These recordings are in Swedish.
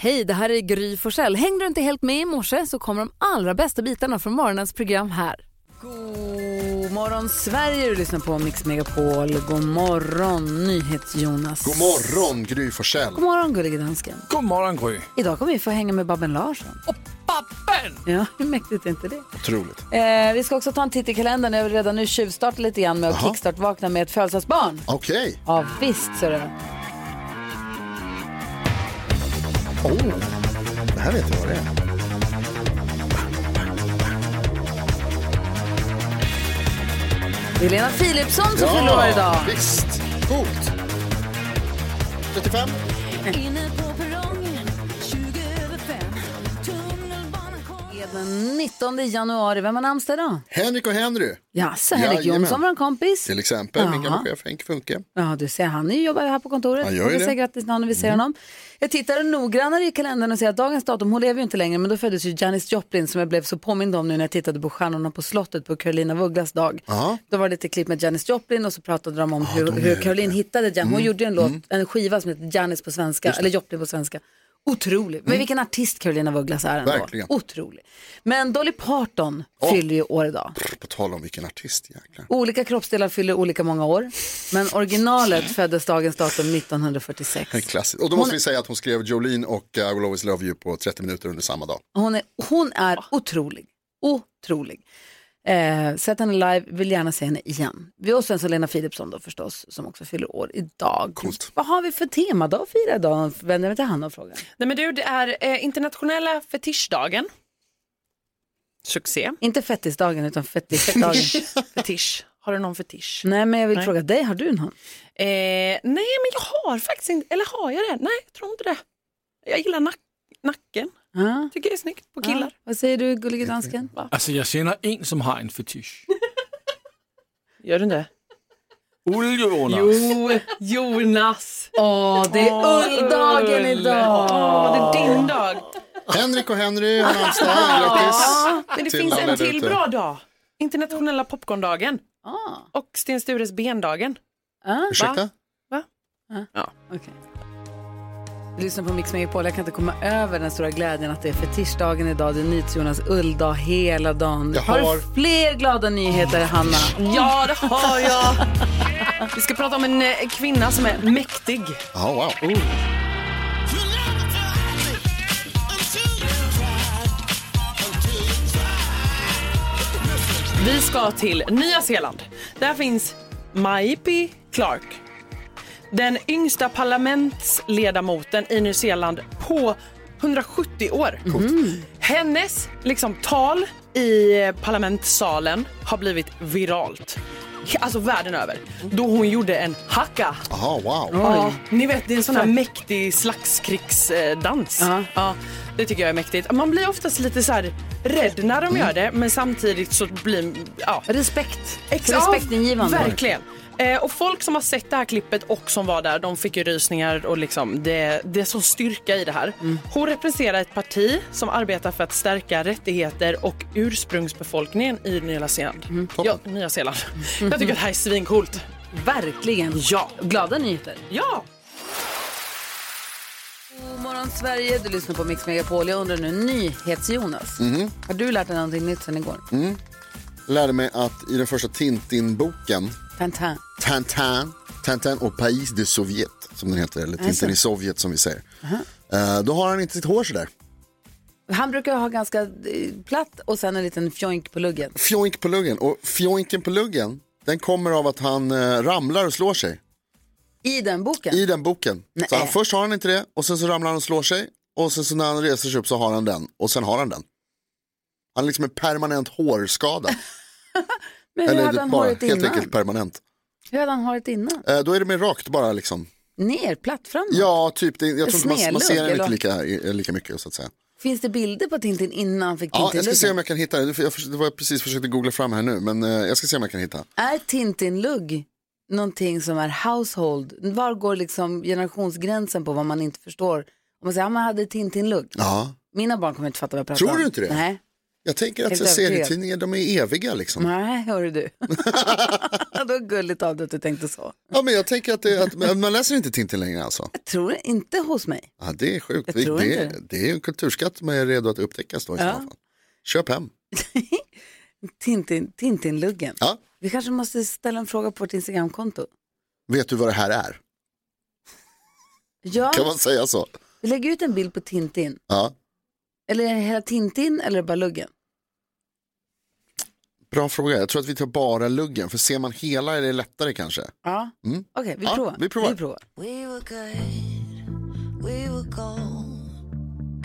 Hej, det här är Gry Forssell. Hängde du inte helt med i morse så kommer de allra bästa bitarna från morgonens program här. God morgon Sverige, du lyssnar på Mix Megapol. God morgon NyhetsJonas. God morgon, Gry Forssell. God morgon gullige dansken. God morgon Gry. Idag kommer vi få hänga med Babben Larsson. Babben! Ja, hur mäktigt är inte det? Otroligt. Eh, vi ska också ta en titt i kalendern. Jag vill redan nu tjuvstarta lite grann med att Jaha. kickstart-vakna med ett födelsedagsbarn. Okej. Ja, visst ser du. Oh, det här vet jag vad det är. Det är Lena Philipsson som fyller år idag. Visst. Coolt. 35. Inne på perrongen, 20 över fem. Tunnelbanan Det är Den 19 januari, vem har namnsdag idag? Henrik och Henry, Jaså, Henrik Jajamän. Jonsson, vår kompis. till exempel. Min gamla Jaha. chef Henk Funke. Ja, du ser, han ju jobbar ju här på kontoret. Han gör ju vi det. Mm. säger grattis när vi ser honom. Jag tittar noggrannare i kalendern och ser att dagens datum, hon lever ju inte längre, men då föddes ju Janis Joplin som jag blev så påmind om nu när jag tittade på Stjärnorna på slottet på Carolina Vugglas dag. Ja. Då var det lite klipp med Janis Joplin och så pratade de om hur, de hur gör Caroline hittade Janis. Hon Mm. gjorde ju en, låt, en skiva som heter Janis på svenska, eller Joplin på svenska. Otrolig. Men vilken artist Carolina Vugglas är ändå. Mm. Verkligen. Otrolig. Men Dolly Parton fyller ju år idag. På tal om vilken artist, jäklar. Olika kroppsdelar fyller olika många år, men originalet föddes dagens datum 1946. En klassisk. Och då måste vi säga att hon skrev Jolene och eh, I will always love you på 30 minuter under samma dag. Hon är, hon Ah. är otrolig. Otrolig. Eh, sett henne live, vill gärna se henne igen. Vi och sen så Lena Philipsson då förstås, som också fyller år idag. Coolt. Vad har vi för temadag att fira idag? Vänder vi till Hanna och frågar. Nej men du, det är eh, internationella fetischdagen. Succé. Inte fettisdagen, utan fettisdagen. Fetisch. Har du någon fetisch? Nej, men jag vill Nej. fråga dig, har du någon? Eh, nej men jag har faktiskt inte, eller har jag det? Nej jag tror inte det. Jag gillar nack, nacken, Ja. tycker det är snyggt på killar. Ja. Vad säger du, gullige dansken? Alltså jag känner en som har en fetisch. Gör du inte det? Ull Jonas. Jo, Jonas. Åh, det är ulldagen idag! Åh, det är din dag. Henrik och Henry har namnsdag. Grattis. Ja, men det Till finns alla en där till ute. bra dag. Internationella popcorndagen Ah. och Sten Stures bendagen. Ah. Ursäkta? Okej. Du lyssnar på Mix Megapol. Jag kan inte komma över den stora glädjen att det är fetischdagen idag. Det är NyhetsJonas ulldag hela dagen. Jag har du har- fler glada nyheter, Hanna? Ja, det har jag. Vi ska prata om en eh, kvinna som är mäktig. Ja, wow. Vi ska till Nya Zeeland. Där finns Maipi Clark. Den yngsta parlamentsledamoten i Nya Zeeland på 170 år. Mm. Hennes liksom, tal i eh, parlamentssalen har blivit viralt. Alltså världen över. Då hon gjorde en haka. Aha, wow. Oh. Ja, ni vet det är en sån här mäktig slagskrigsdans. Ja. Ja, det tycker jag är mäktigt. Man blir oftast lite så här rädd när de gör det men samtidigt så blir ja, Respekt. Ex- Respektingivande. Ja, verkligen. Eh, och folk som har sett det här klippet och som var där, de fick ju rysningar och liksom det, det är sån styrka i det här. Hon representerar ett parti som arbetar för att stärka rättigheter och ursprungsbefolkningen i Nya Zeeland. Ja, Nya Zeeland. Jag tycker att det här är svincoolt. Verkligen. Mm. Ja. Glada nyheter. Ja! God morgon, Sverige. Du lyssnar på Mix Megapol. Jag undrar nu, NyhetsJonas. Mhm. Har du lärt dig någonting nytt sen igår? Mm. Lärde mig att i den första Tintin-boken Tintin. Tintin, Tintin och Paris de Sovjet, som den heter, eller Tintin i Sovjet som vi säger. Eh, Då har han inte sitt hår sådär. Han brukar ha ganska eh, platt och sen en liten fjoink på luggen. Fjoink på luggen, och fjoinken på luggen, den kommer av att han eh, ramlar och slår sig I den boken. i den boken. Så Nej. han, först har han inte det, och sen så ramlar han och slår sig, och sen så när han reser sig upp så har han den, och sen har han den. Han är liksom en permanent hårskada. Men hur Eller hade han bara håret helt innan? enkelt permanent. Hur hade han håret innan? Eh, Då är det mer rakt bara liksom. Ner, platt framåt? Ja, typ. Det, jag tror inte man, man Snedlugg, ser den eller? inte lika, lika mycket så att säga. Finns det bilder på Tintin innan han fick Ja, jag ska se Tintin-luggen? om jag kan hitta det. För Jag, förs- det var jag precis försökte googla fram här nu, men eh, jag ska se om jag kan hitta. är Tintin-lugg någonting som är household? Var går liksom generationsgränsen på vad man inte förstår? Om man säger att man hade Tintin-lugg. Ja. Mina barn kommer inte fatta vad jag pratar Tror om. du inte det? Nej. Jag tänker att Helt så övertygad. Mm. serietidningar, de är eviga liksom. Nej, hörru du. det var gulligt av dig att du tänkte så. Ja, men jag tänker att, det, att men man läser inte Tintin längre alltså. Jag tror inte hos mig. Ja, det är sjukt. Jag Det, tror det, inte. det är ju en kulturskatt man är redo att upptäckas då i Ja. så fall. Köp hem. Tintin- Tintin-luggen. Ja. Vi kanske måste ställa en fråga på vårt Instagramkonto. Vet du vad det här är? Ja, Kan man säga så? vi lägger ut en bild på Tintin. Ja. Eller är det hela Tintin eller bara luggen? Bra fråga. Jag tror att vi tar bara luggen, för ser man hela är det lättare kanske. Ja, Mm. okej, vi, Ja, provar. vi provar. Vi provar. We were good, we were gold.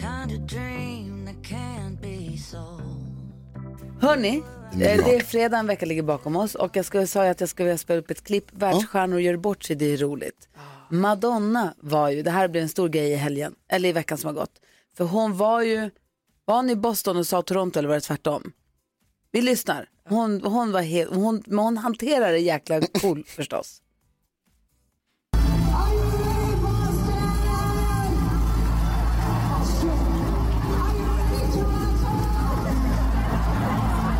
Kind of dream that can't be sold. Hörni, Det är eh, bra. det är fredag, en vecka ligger bakom oss och jag ska, sa ju att jag skulle vilja spela upp ett klipp. Världsstjärnor gör bort sig, det är roligt. Ah. Madonna var ju, det här blev en stor grej i helgen, eller i veckan som har gått. För hon var ju, var hon i Boston och sa Toronto eller var det tvärtom? Vi lyssnar. Hon, hon var helt, hon, men hon hanterar det jäkla cool förstås.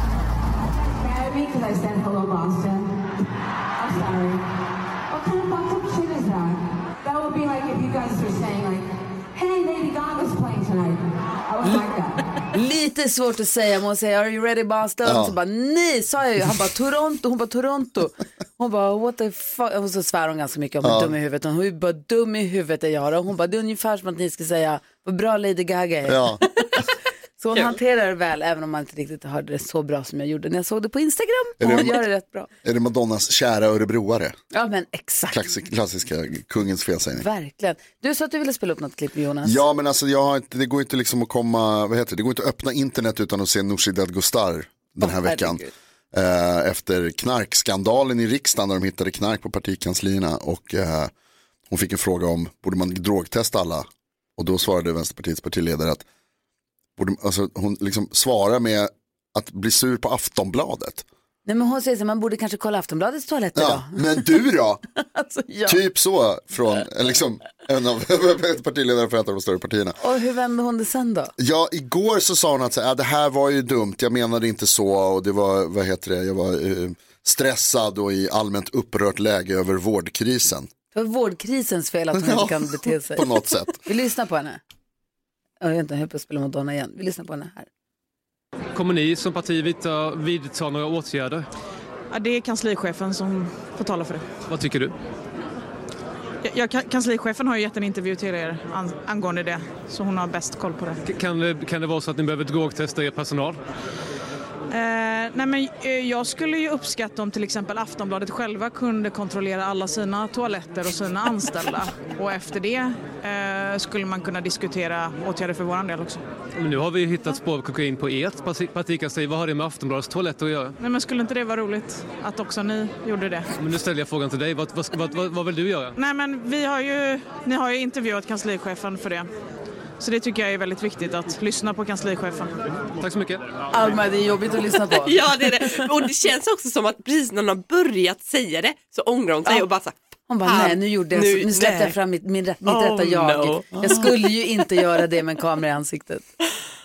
Marry me because I said hello, Boston. I'm sorry. What kind of fucked up shit is that? That would be like if you guys were saying like, "Hey, Lady Gaga's playing tonight." I would like that. Lite svårt att säga, men hon säger “Are you ready Boston?” Ja. Så bara “Nej” sa jag ju. Han bara “Toronto”, hon bara “Toronto”. Hon bara “What the fuck?” Och så svär hon ganska mycket om hur dum i huvudet hon är. Hon är bara “Dum i huvudet är jag” då." Hon bara “Det är ungefär som att ni ska säga vad bra Lady Gaga är”. Ja. Så hon hanterar det väl, även om man inte riktigt hörde det så bra som jag gjorde när jag såg det på Instagram. Är det- Hon gör det rätt bra. Är det Madonnas kära örebroare? Ja men exakt, Klassik, klassiska kungens felsägning. verkligen. Du sa att du ville spela upp något klipp med Jonas. Ja, men alltså jag har inte, det går inte liksom att komma, vad heter det, det går inte att öppna internet utan att se Nooshi Dadgostar den här veckan. Eh, efter knarkskandalen i riksdagen där de hittade knark på partikanslierna och eh, hon fick en fråga om, borde man drogtesta alla? Och då svarade Vänsterpartiets partiledare att, borde, alltså, hon liksom svarar med att bli sur på Aftonbladet. Nej men hon säger så här, man borde kanske kolla Aftonbladets toalett idag. Ja, men du då? Alltså, ja. Typ så från eh, liksom, en av partiledare för ett av de större partierna. Och hur vände hon det sen då? Ja, igår så sa hon att så här, "Ah, det här var ju dumt, jag menade inte så och det var, vad heter det, jag var eh, stressad och i allmänt upprört läge över vårdkrisen Det var vårdkrisens fel att hon Ja, inte kan bete sig. på något sätt. Vi lyssnar på henne. Jag vet inte, jag höll på att spela Madonna igen. Vi lyssnar på henne här. Kommer ni som parti vidta, vidta några åtgärder? Ja, det är kanslichefen som får tala för det. Vad tycker du? Jag, jag, kan- kanslichefen har ju gett en intervju till er an, angående det, så hon har bäst koll på det. K- Kan, det- kan det vara så att ni behöver drogtesta er personal? Eh, nej men, eh, jag skulle ju uppskatta om till exempel Aftonbladet själva kunde kontrollera alla sina toaletter och sina anställda. Och efter det eh, skulle man kunna diskutera åtgärder för vår del också. Men nu har vi ju hittat spår av kokain på ert parti- partikansli. Vad har det med Aftonbladets toaletter att göra? Nej, men skulle inte det vara roligt att också ni gjorde det? Men nu ställer jag frågan till dig. Vad, vad, ska- vad, vad, vad vill du göra? Nej, men vi har ju, ni har ju intervjuat kanslichefen för det. Så det tycker jag är väldigt viktigt att lyssna på kanslichefen. Tack så mycket. Alma, det är jobbigt att lyssna på. Ja det är det. Och det känns också som att precis när hon har börjat säga det så ångrar hon sig och bara så här, Hon bara, "Fan, nej nu gjorde jag så. Nu släppte nej." jag fram mitt, min, rätt- mitt Oh, rätta jag. no. Jag skulle ju inte göra det med en kamera i ansiktet.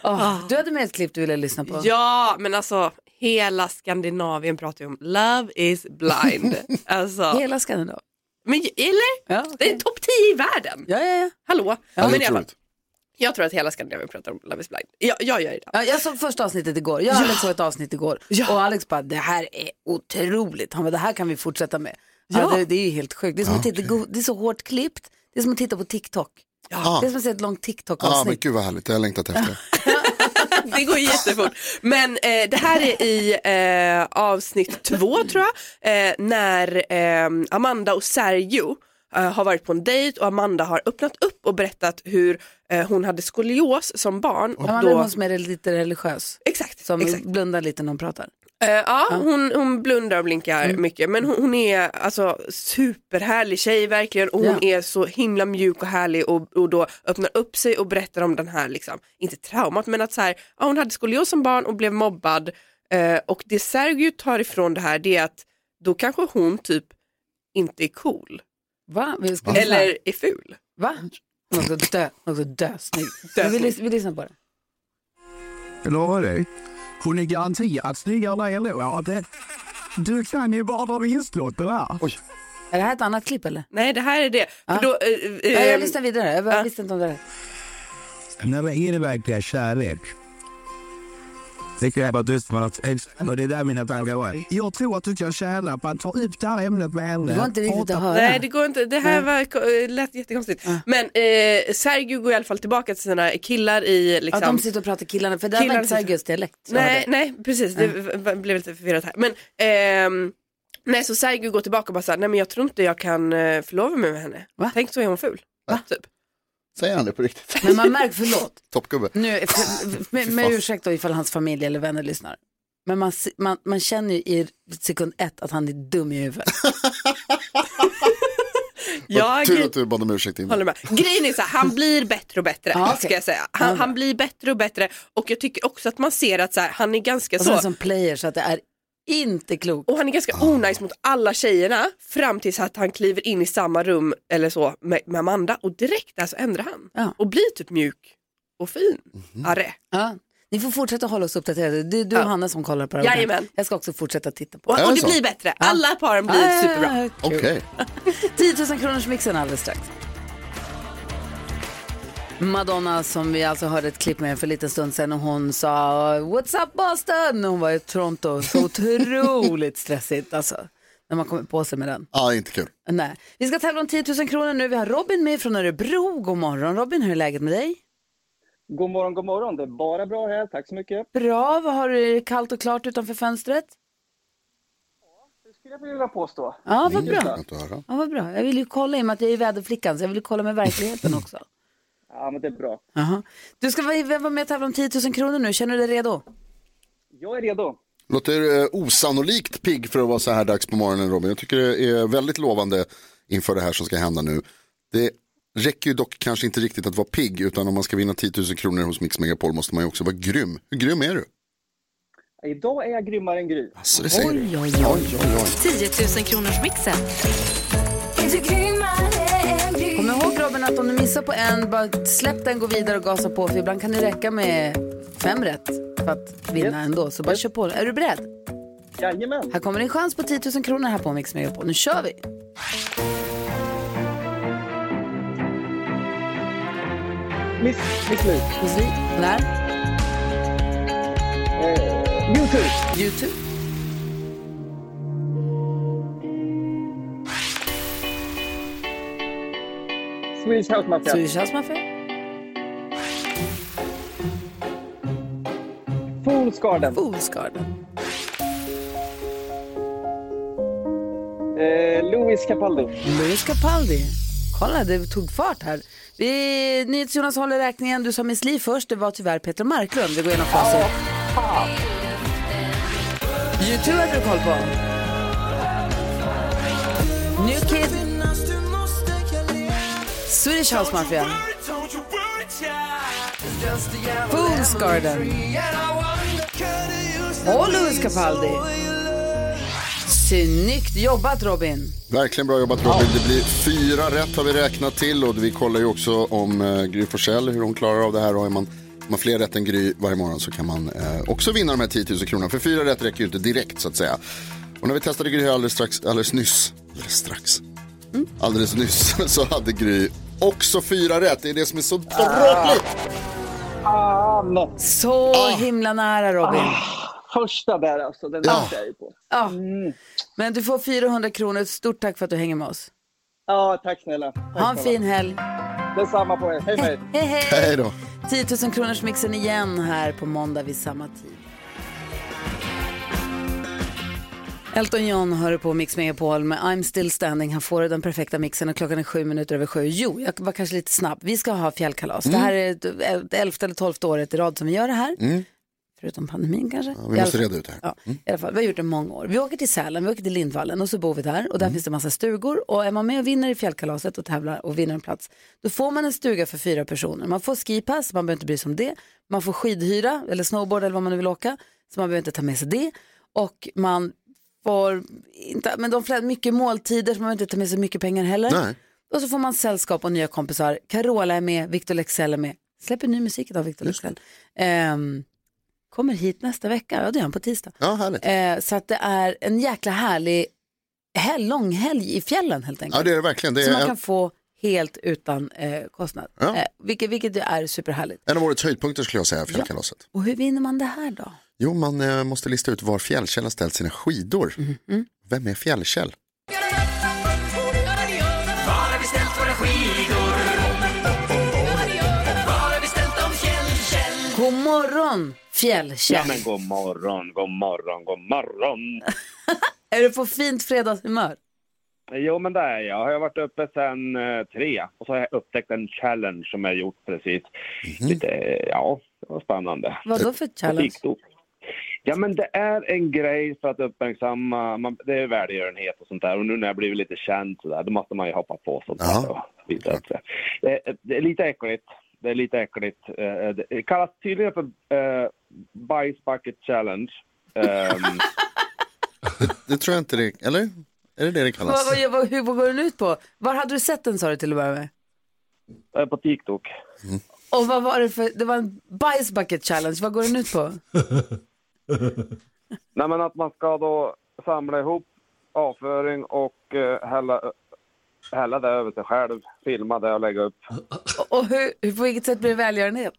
Åh, Du hade med ett klipp du ville lyssna på. Ja men alltså hela Skandinavien pratar ju om love is blind. alltså, Hela Skandinavien. men eller? Ja, Det okej. är topp 10 i världen. ja, ja, ja. Hallå? Ja, men det i är alla fall, otroligt. jag tror att hela Skandinavien pratar om love is blind. Jag, jag gör det. Ja, jag såg första avsnittet igår. Jag och Alex såg ett avsnitt igår. Och Alex bara, det här är otroligt. Han bara, det här kan vi fortsätta med. Ja. det, det är ju helt sjukt. Det är, som att titta, det är så hårt klippt. Det är som att titta på TikTok. Ja, Det är som att se ett långt ah, men TikTok-avsnitt. gud vad härligt, jag har längtat efter det. Det går jättefort. Men eh, det här är i eh, avsnitt två tror jag, eh, när eh, Amanda och Sergio eh, har varit på en dejt och Amanda har öppnat upp och berättat hur eh, hon hade skolios som barn. Och Amanda är då, hon som är lite religiös. exakt, Som exakt. blundar lite när hon pratar. Eh, ja, Hon, hon blundar och blinkar Mm. mycket men hon, hon är alltså superhärlig tjej verkligen och hon Ja. är så himla mjuk och härlig och, och då öppnar upp sig och berättar om den här, liksom, inte traumat men att så här, ja, hon hade skolios som barn och blev mobbad eh, och det Sergio tar ifrån det här det är att då kanske hon typ inte är cool Va? Vi ska lyssna. eller är ful. Va? Hon är också dö, hon är också dösnygg. Men vi, lys- vi lyssnar på det. Jag lovar dig, Och ni garanterat snyggare än låret. Du kan ju bara dra vinstlotter där. Oj. Är det här ett annat klipp eller? Nej, det här är det. För då, eh, Ja, jag eh, lyssnar vidare. Jag bara visste inte om det där. När det är det verkliga kärlek? Det kräver dystmat. Och det är där mina tankar var. Jag tror att du kan tjäna på att ta upp det här ämnet med henne. Det var inte riktigt att höra. Nej, det går inte. Det här var, eh, lät jättekonstigt. Men eh, Sergio går i alla fall tillbaka till sina killar i... Liksom, Att de sitter och pratar killarna, för det här var Killarna inte Sergius dialekt. så var Nej, det. nej precis. Det v- blev lite förvirrat här. Men, ehm, nej, så Sergio går tillbaka och bara så här, nej men jag tror inte jag kan eh, förlova mig med henne. Va? Tänk så är hon ful. Typ. Säger han det på riktigt? Men man märker, förlåt, Toppgubbe. nu, för, med, med ursäkt då ifall hans familj eller vänner lyssnar. Men man, se- man, man känner ju i sekund ett att han är dum i huvudet. Jag Tur att du bad om ursäkt innan. håller med. Grejen är så här, han blir bättre och bättre. Ja, okej. ska jag säga. Han, han blir bättre och bättre och jag tycker också att man ser att så här, han är ganska Och sen så. som Alltså player så att det är inte klokt. Och han är ganska Ah. onajs mot alla tjejerna fram tills att han kliver in i samma rum eller så med, med Amanda och direkt där så ändrar han Ja. och blir typ mjuk och fin. Mhm. Arre. Ja. Ni får fortsätta hålla oss uppdaterade. Det är du och Ja. Hanna som kollar på det här. Jajamän. Jag ska också fortsätta titta på Och, det. Är och det det så? blir bättre. Alla paren blir superbra. Ah, Okej. kul. 10 000 kronors mixen alldeles strax. Madonna som vi alltså hörde ett klipp med för en liten stund sedan och hon sa What's up Boston? Hon var i Toronto. Så otroligt stressigt alltså. När man kommer på sig med den. Ja, inte kul. Nej. Vi ska tävla om 10 000 kronor nu. Vi har Robin med från Örebro. God morgon Robin, hur är läget med dig? God morgon, god morgon. Det är bara bra här. Tack så mycket. Bra, vad har du kallt och klart utanför fönstret? Det skulle jag vilja påstå. Ja, vad bra. Skönt att höra. Ja, vad bra. Jag vill ju kolla i och med att jag är väderflickan så jag vill ju kolla med verkligheten också. Mm. Ja, men det är bra. Jaha. Du ska vara vara med och tävla om 10 000 kronor nu. Känner du dig redo? Jag är redo. Låter eh, osannolikt pigg för att vara så här dags på morgonen Robin. Jag tycker det är väldigt lovande inför det här som ska hända nu. Det räcker ju dock kanske inte riktigt att vara pigg utan om man ska vinna 10 000 kronor hos Mix Megapol måste man ju också vara grym. Hur grym är du? Idag är jag grymmare än Gry. Alltså, det säger du. Oj, oj, oj. 10 000 kronors mixen. Kom ihåg Robin att om du missar på en, bara släpp den, gå vidare och gasa på. För ibland kan det räcka med fem rätt för att vinna ändå. Så bara kör på. Är du beredd? Jajamän. Här kommer din chans på 10 000 kronor här på Mix Megapol. Nu kör vi! Miss, miss Li. Hos vi, när, Eh, Youtube. Youtube. Swedish House Mafia. Swedish House Mafia. Fools Garden. Fools Garden. Eh, Louis Capaldi. Louis Capaldi. Kolla, det tog fart här. Vi, NyhetsJonas håller räkningen. Du sa Miss Li först. Det var tyvärr Peter Marklund. Vi går igenom facit. Youtube hade du koll på. New Kid. Swedish House Mafia. Fools Garden. Och Louis Capaldi. Snyggt jobbat Robin. Verkligen bra jobbat Robin. Det blir fyra rätt har vi räknat till och vi kollar ju också om eh, Gry Forssell, hur hon klarar av det här. Och är man, om man fler rätt än Gry varje morgon så kan man eh, också vinna de här 10 000 kronorna. För fyra rätt räcker ju inte direkt så att säga. Och när vi testade Gry här alldeles, strax, alldeles nyss, alldeles strax, Mm. alldeles nyss så hade Gry också fyra rätt. Det är det som är Ah, så dråpligt. Fan! Så himla nära Robin. Första där alltså, den Ja. ah. jag ju på. Ja. Men du får 400 kronor. Stort tack för att du hänger med oss. Ja, tack snälla. Tack Ha en snälla. fin helg. Detsamma på er. Hej, hej. Hej, hej. Hej då. 10 000 kronors mixen igen här på måndag vid samma tid. Elton John hör på Mix Megapol med I'm still standing. Han får den perfekta mixen och klockan är sju minuter över sju. Jo, jag var kanske lite snabb. Vi ska ha fjällkalas. Det här Mm. är det elfte eller tolfte året i rad som vi gör det här. Förutom pandemin kanske. Ja, vi I måste alla- reda ut det här. Ja, i alla fall. Vi har gjort det många år. Vi åker till Sälen, vi åker till Lindvallen och så bor vi där. Och där finns det massa stugor. Och är man med och vinner i fjällkalaset och tävlar och vinner en plats, då får man en stuga för fyra personer. Man får skipass, man behöver inte bry sig om det. Man får skidhyra eller snowboard eller vad man nu vill åka. Så man behöver inte ta med sig det. Och man får inte, men de flesta, mycket måltider så man behöver inte ta med sig mycket pengar heller. Nej. Och så får man sällskap och nya kompisar. Carola är med, Victor Lexell är med. Släpper ny musik idag, Victor Lexell. Ehm, kommer hit nästa vecka. Ja, det är han på tisdag. Ja, härligt. Eh, så att det är en jäkla härlig hel, långhelg i fjällen helt enkelt. Ja, det är det verkligen. Det Som är man en- kan få helt utan eh, kostnad. Ja. Eh, vilket, vilket ju är superhärligt. En av årets höjdpunkter skulle jag säga, fjällkalaset. Och hur vinner man det här då? Jo, man eh, måste lista ut var Fjällkäll har ställt sina skidor. Mm-hmm. Vem är Fjällkäll? Var har vi ställt våra skidor? Var har vi ställt dem fjällkäll? God morgon Ja, fjällkäll. men god morgon, god morgon, god morgon. Är du på fint fredagshumör? Jo, men det är jag. Jag har varit uppe sedan eh, tre och så har jag upptäckt en challenge som jag gjort precis. Lite, eh, ja, det var spännande. Vad då för challenge? Musikdop. Ja, men det är en grej för att uppmärksamma, man, det är välgörenhet och sånt där. Och nu när jag blivit lite känd så där, då måste man ju hoppa på sånt där. Och visa upp sig. det, Eh, det är lite äckligt. Det är lite äckligt. Eh, Det kallas tydligen för eh, Bice Bucket Challenge. Ehm, Det tror jag inte det, eller? Är det det det Vad, kallas? alltså. vad, vad, hur, vad går den ut på? Var hade du sett den sa du till att börja med? eh, på TikTok. Och vad var det för, det var en bice bucket challenge, vad går den ut på? Nej, men att man ska då samla ihop avföring och eh, hälla, hälla det över sig själv, filma det och lägga upp. Och, och hur, hur, på vilket sätt blir det välgörenhet?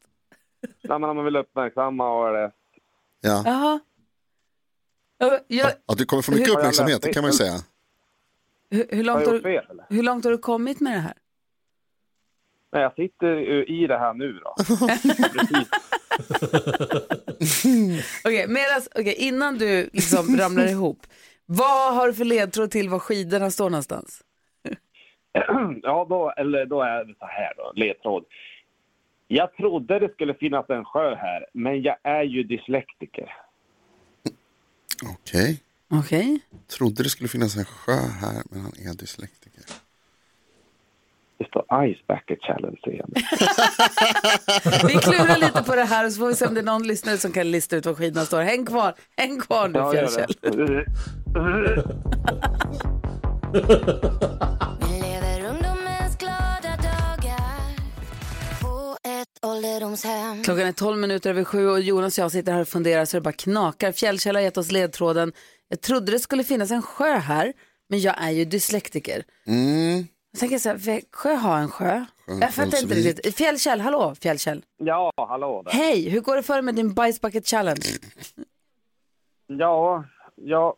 Nej, men om man vill uppmärksamma och det. Ja. Jaha. Ja, Jag, Att du kommer få mycket Hur- uppmärksamhet, det kan man ju säga. hur, hur, Har långt jag har gjort du, fel eller? hur långt har du kommit med det här? Nej, jag sitter ju i det här nu då. Okej, medans, okej, innan du liksom ramlar ihop, vad har du för ledtråd till var skidorna står någonstans? ja, då, eller då är det så här då, ledtråd. Jag trodde det skulle finnas en sjö här, men jag är ju dyslektiker. Okej. Okej. Trodde det skulle finnas en sjö här, men han är dyslektiker. Det står Ice Bucket Challenge igen. Vi klurar lite på det här och så får vi se om det är någon lyssnare som kan lista ut var skidorna står. Häng kvar, häng kvar nu Ja, gör det. Fjällkäll. Vi lever ungdomens glada dagar på ett ålderdomshem. Klockan är 12 minuter över sju och Jonas och jag sitter här och funderar så det bara knakar. Fjällkäll har gett oss ledtråden. Jag trodde det skulle finnas en sjö här, men jag är ju dyslektiker. Mm. Jag tänker så här, Växjö har en sjö. Sjön Jag fattar inte Karlsvik. riktigt. Fjällkäll, hallå Fjällkäll. Ja, hallå där. Hej, hur går det för dig med din Bice Bucket Challenge? Ja, ja,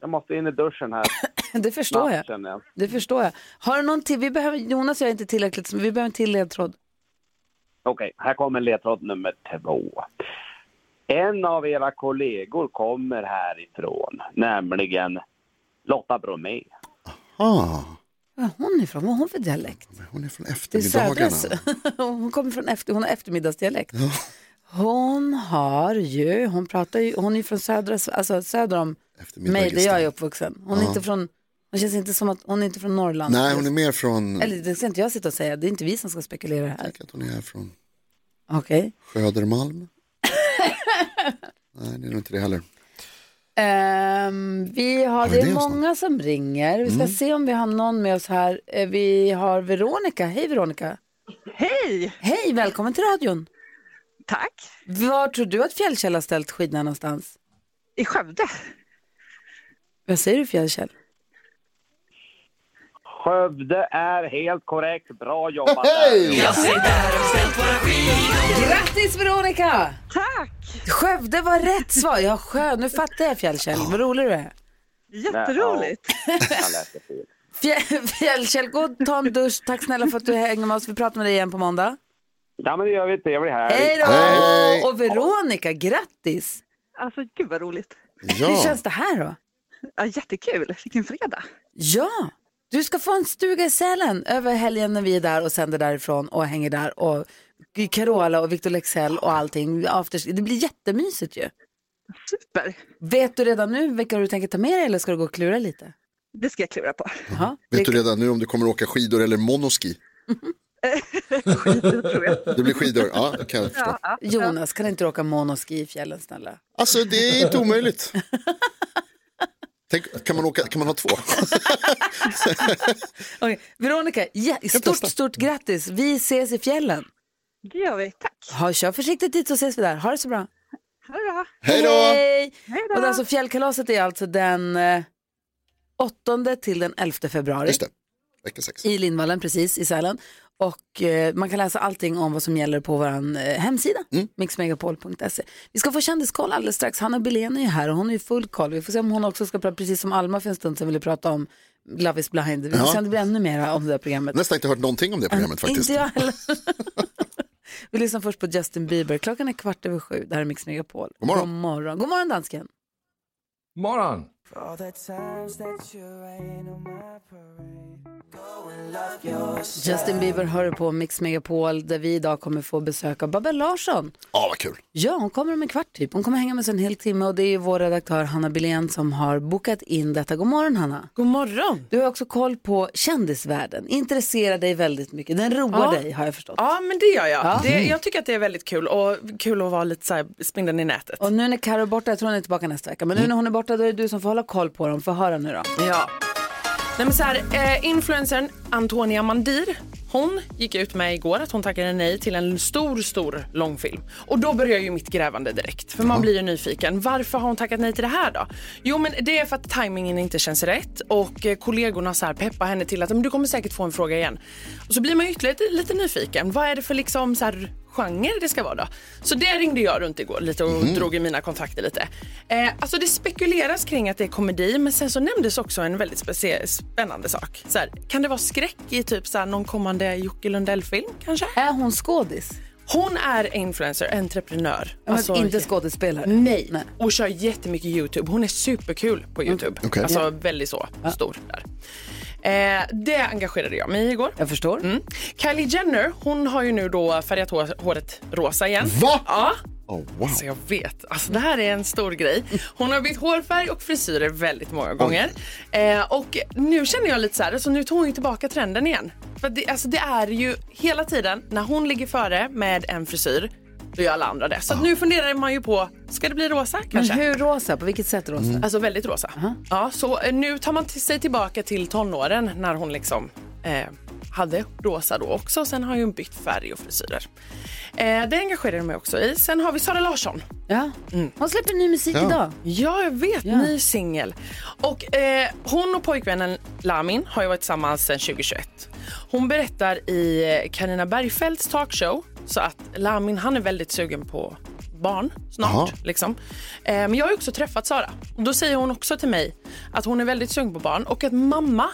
jag måste in i duschen här. Det förstår jag. Snabbt, känner jag. Det förstår jag. Har du någon till? Vi behöver, Jonas och jag är inte tillräckligt, men vi behöver en till ledtråd. Okej, här kommer ledtråd nummer två. En av era kollegor kommer härifrån, nämligen Lotta Bromé. Ah, Var är hon ifrån? Vad har hon för dialekt? men hon är från Det är södra... eftermiddagarna. Hon kommer från efter, hon har eftermiddagsdialekt. Hon har ju, hon pratar ju, hon är från södra, Sve- alltså söder om mig, där jag är uppvuxen. Hon är Ja. inte från, hon känns inte som att, hon är inte från Norrland. Nej, hon är mer från, Eller det ska inte jag sitta och säga, det är inte vi som ska spekulera här. hon är från Okej. Sjödermalm. Nej, det är nog inte det heller. Ehm, vi har, Har vi det är med oss många som ringer. Vi ska Mm. se om vi har någon med oss här. Eh, Vi har Veronica. Hej Veronica. Hej! Hej, välkommen till radion. Tack. Var tror du att Fjällkäll har ställt skidorna någonstans? I Skövde. Vad säger du Fjällkäll? Skövde är helt korrekt. Bra jobbat Hej! där. Grattis Veronica! Tack! Skövde var rätt svar. Ja, sjö. Nu fattar jag Fjällkäll. Vad rolig du är. Jätteroligt. Jag läste fel. Fjä- Fjällkäll, gå och ta en dusch. Tack snälla för att du hänger med oss. Vi pratar med dig igen på måndag. Ja, men det gör vi. Trevlig helg. Hej då! Och Veronica, grattis! Alltså gud vad roligt. Hur känns det här då? Ja, jättekul, vilken fredag. Ja, du ska få en stuga i Sälen över helgen när vi är där och sänder därifrån och hänger där och Carola och Victor Lexell och allting. After... Det blir jättemysigt ju. Super. Vet du redan nu vilka du tänker ta med dig eller ska du gå och klura lite? Det ska jag klura på. Jaha. Vet du redan nu om du kommer åka skidor eller monoski? Det blir skidor, ja det kan jag förstå. Jonas, kan inte du åka monoski i fjällen snälla? Alltså det är inte omöjligt. Tänk, kan, man åka, kan man ha två? Okej, Veronica, ja, stort, stort grattis. Vi ses i fjällen. Det gör vi, tack. Ha, kör försiktigt dit så ses vi där. Ha det så bra. Ha det bra. Hej då! Hej! Och det är alltså fjällkalaset är alltså den eh, 8 till den 11 februari. Just det. Vecka sex. I Lindvallen, precis, i Sälen. Och eh, man kan läsa allting om vad som gäller på vår eh, hemsida, Mm. mixmegapol.se. Vi ska få kändiskoll alldeles strax. Hanna Billén är ju här och hon är ju full koll. Vi får se om hon också ska prata, precis som Alma för en stund sedan ville prata om Love is blind. Vi får Ja. se om det blir ännu mer om det där programmet. Nästan inte hört någonting om det programmet faktiskt. Inte jag heller. Vi lyssnar först på Justin Bieber. Klockan är kvart över sju. Det här är Mix Megapol. God morgon. God morgon, God morgon dansken. Morgon. Justin Bieber hör på Mix Megapol där vi idag kommer få besöka Babben Larsson. Ja, vad kul. Ja, hon kommer om en kvart typ. Hon kommer hänga med oss en hel timme och det är vår redaktör Hanna Billén som har bokat in detta. God morgon Hanna. God morgon. Du har också koll på kändisvärlden. Intresserar dig väldigt mycket. Den roar Ja. dig har jag förstått. Ja, men det gör jag. Ja. Det, jag tycker att det är väldigt kul och kul att vara lite så här spindeln i nätet. Och nu när Karo är borta, jag tror hon är tillbaka nästa vecka, men nu när hon är borta då är det du som får hålla koll på dem. Få höra nu då. Ja. Nej, men så här, eh, influencern Antonia Mandir hon gick ut med igår att hon tackade nej till en stor, stor långfilm. Och då börjar ju mitt grävande direkt. För man blir ju nyfiken. Varför har hon tackat nej till det här då? Jo, men det är för att tajmingen inte känns rätt och eh, kollegorna så här peppar henne till att men du kommer säkert få en fråga igen. Och så blir man ju ytterligare lite, lite nyfiken. Vad är det för liksom så här genre det ska vara då? Så det ringde jag runt igår lite och Mhm. drog i mina kontakter lite. Eh, alltså det spekuleras kring att det är komedi men sen så nämndes också en väldigt specie- spännande sak. Så här, kan det vara skräck i typ så här, någon kommande Jocke Lundell-film kanske? Är hon skådis? Alltså, Hon är influencer, entreprenör. Alltså, men inte skådespelare? Nej. Och kör jättemycket YouTube. Hon är superkul på YouTube. Mm. okej. Alltså Ja. väldigt så stor där. Eh, det engagerade jag mig i igår. Jag förstår. Mm. Kylie Jenner, hon har ju nu då färgat hår, håret rosa igen. Va? Ja. Oh, wow. Så jag vet. Alltså, det här är en stor grej. Hon har bytt hårfärg och frisyrer väldigt många gånger. Eh, och nu känner jag lite så här, alltså, nu tar hon ju tillbaka trenden igen. För det, alltså, det är ju hela tiden när hon ligger före med en frisyr, då gör alla andra det. Så att nu funderar man ju på, ska det bli rosa kanske? Men hur rosa? På vilket sätt rosa? Alltså väldigt rosa. Ja, så eh, nu tar man till sig tillbaka till tonåren när hon liksom eh, hade rosa då också. Sen har ju hon bytt färg och frisyrer. Eh, det engagerar jag mig också i. Sen har vi Sara Larsson. Ja. Hon släpper ny musik Ja. idag. Ja, jag vet. Ny singel. Och eh, hon och pojkvännen Lamin har ju varit tillsammans sedan 2021. Hon berättar i Karina Bergfeldts talkshow så att Lamin han är väldigt sugen på barn Jaha. snart. Liksom. Eh, men jag har ju också träffat Sara. Och då säger hon också till mig att hon är väldigt sugen på barn och att mamma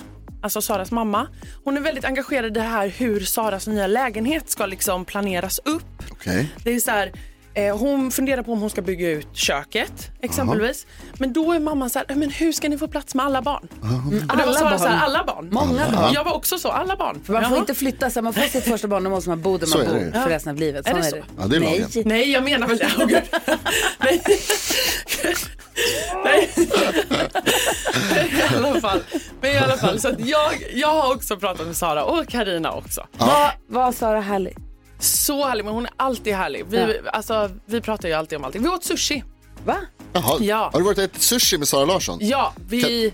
Alltså Saras mamma. Hon är väldigt engagerad i det här hur Saras nya lägenhet ska liksom planeras upp. Okej. Det är så här, eh, hon funderar på om hon ska bygga ut köket exempelvis. Men då är mamman så här, men hur ska ni få plats med alla barn? Mm, Och det var alla Sara så barn. här, alla barn. Många Ja. barn. Jag var också så, alla barn. För man får Jaha. inte flytta sig, man får sitt första barn, då måste man bo där Så man är det bor ju. för Ja. resten av livet. Är Så det är så? det. Ja, det är Nej. lagen. Nej, jag menar väl det. Åh, gud. Nej. Nej. I alla fall. Men i alla fall, så att jag, jag har också pratat med Sara och Karina också. Vad var Sara härlig? Så härlig, men hon är alltid härlig. Vi, alltså, vi pratar ju alltid om allting. Vi åt sushi. Va? Jaha. Ja. Har du varit och ätit sushi med Sara Larsson? Ja, vi...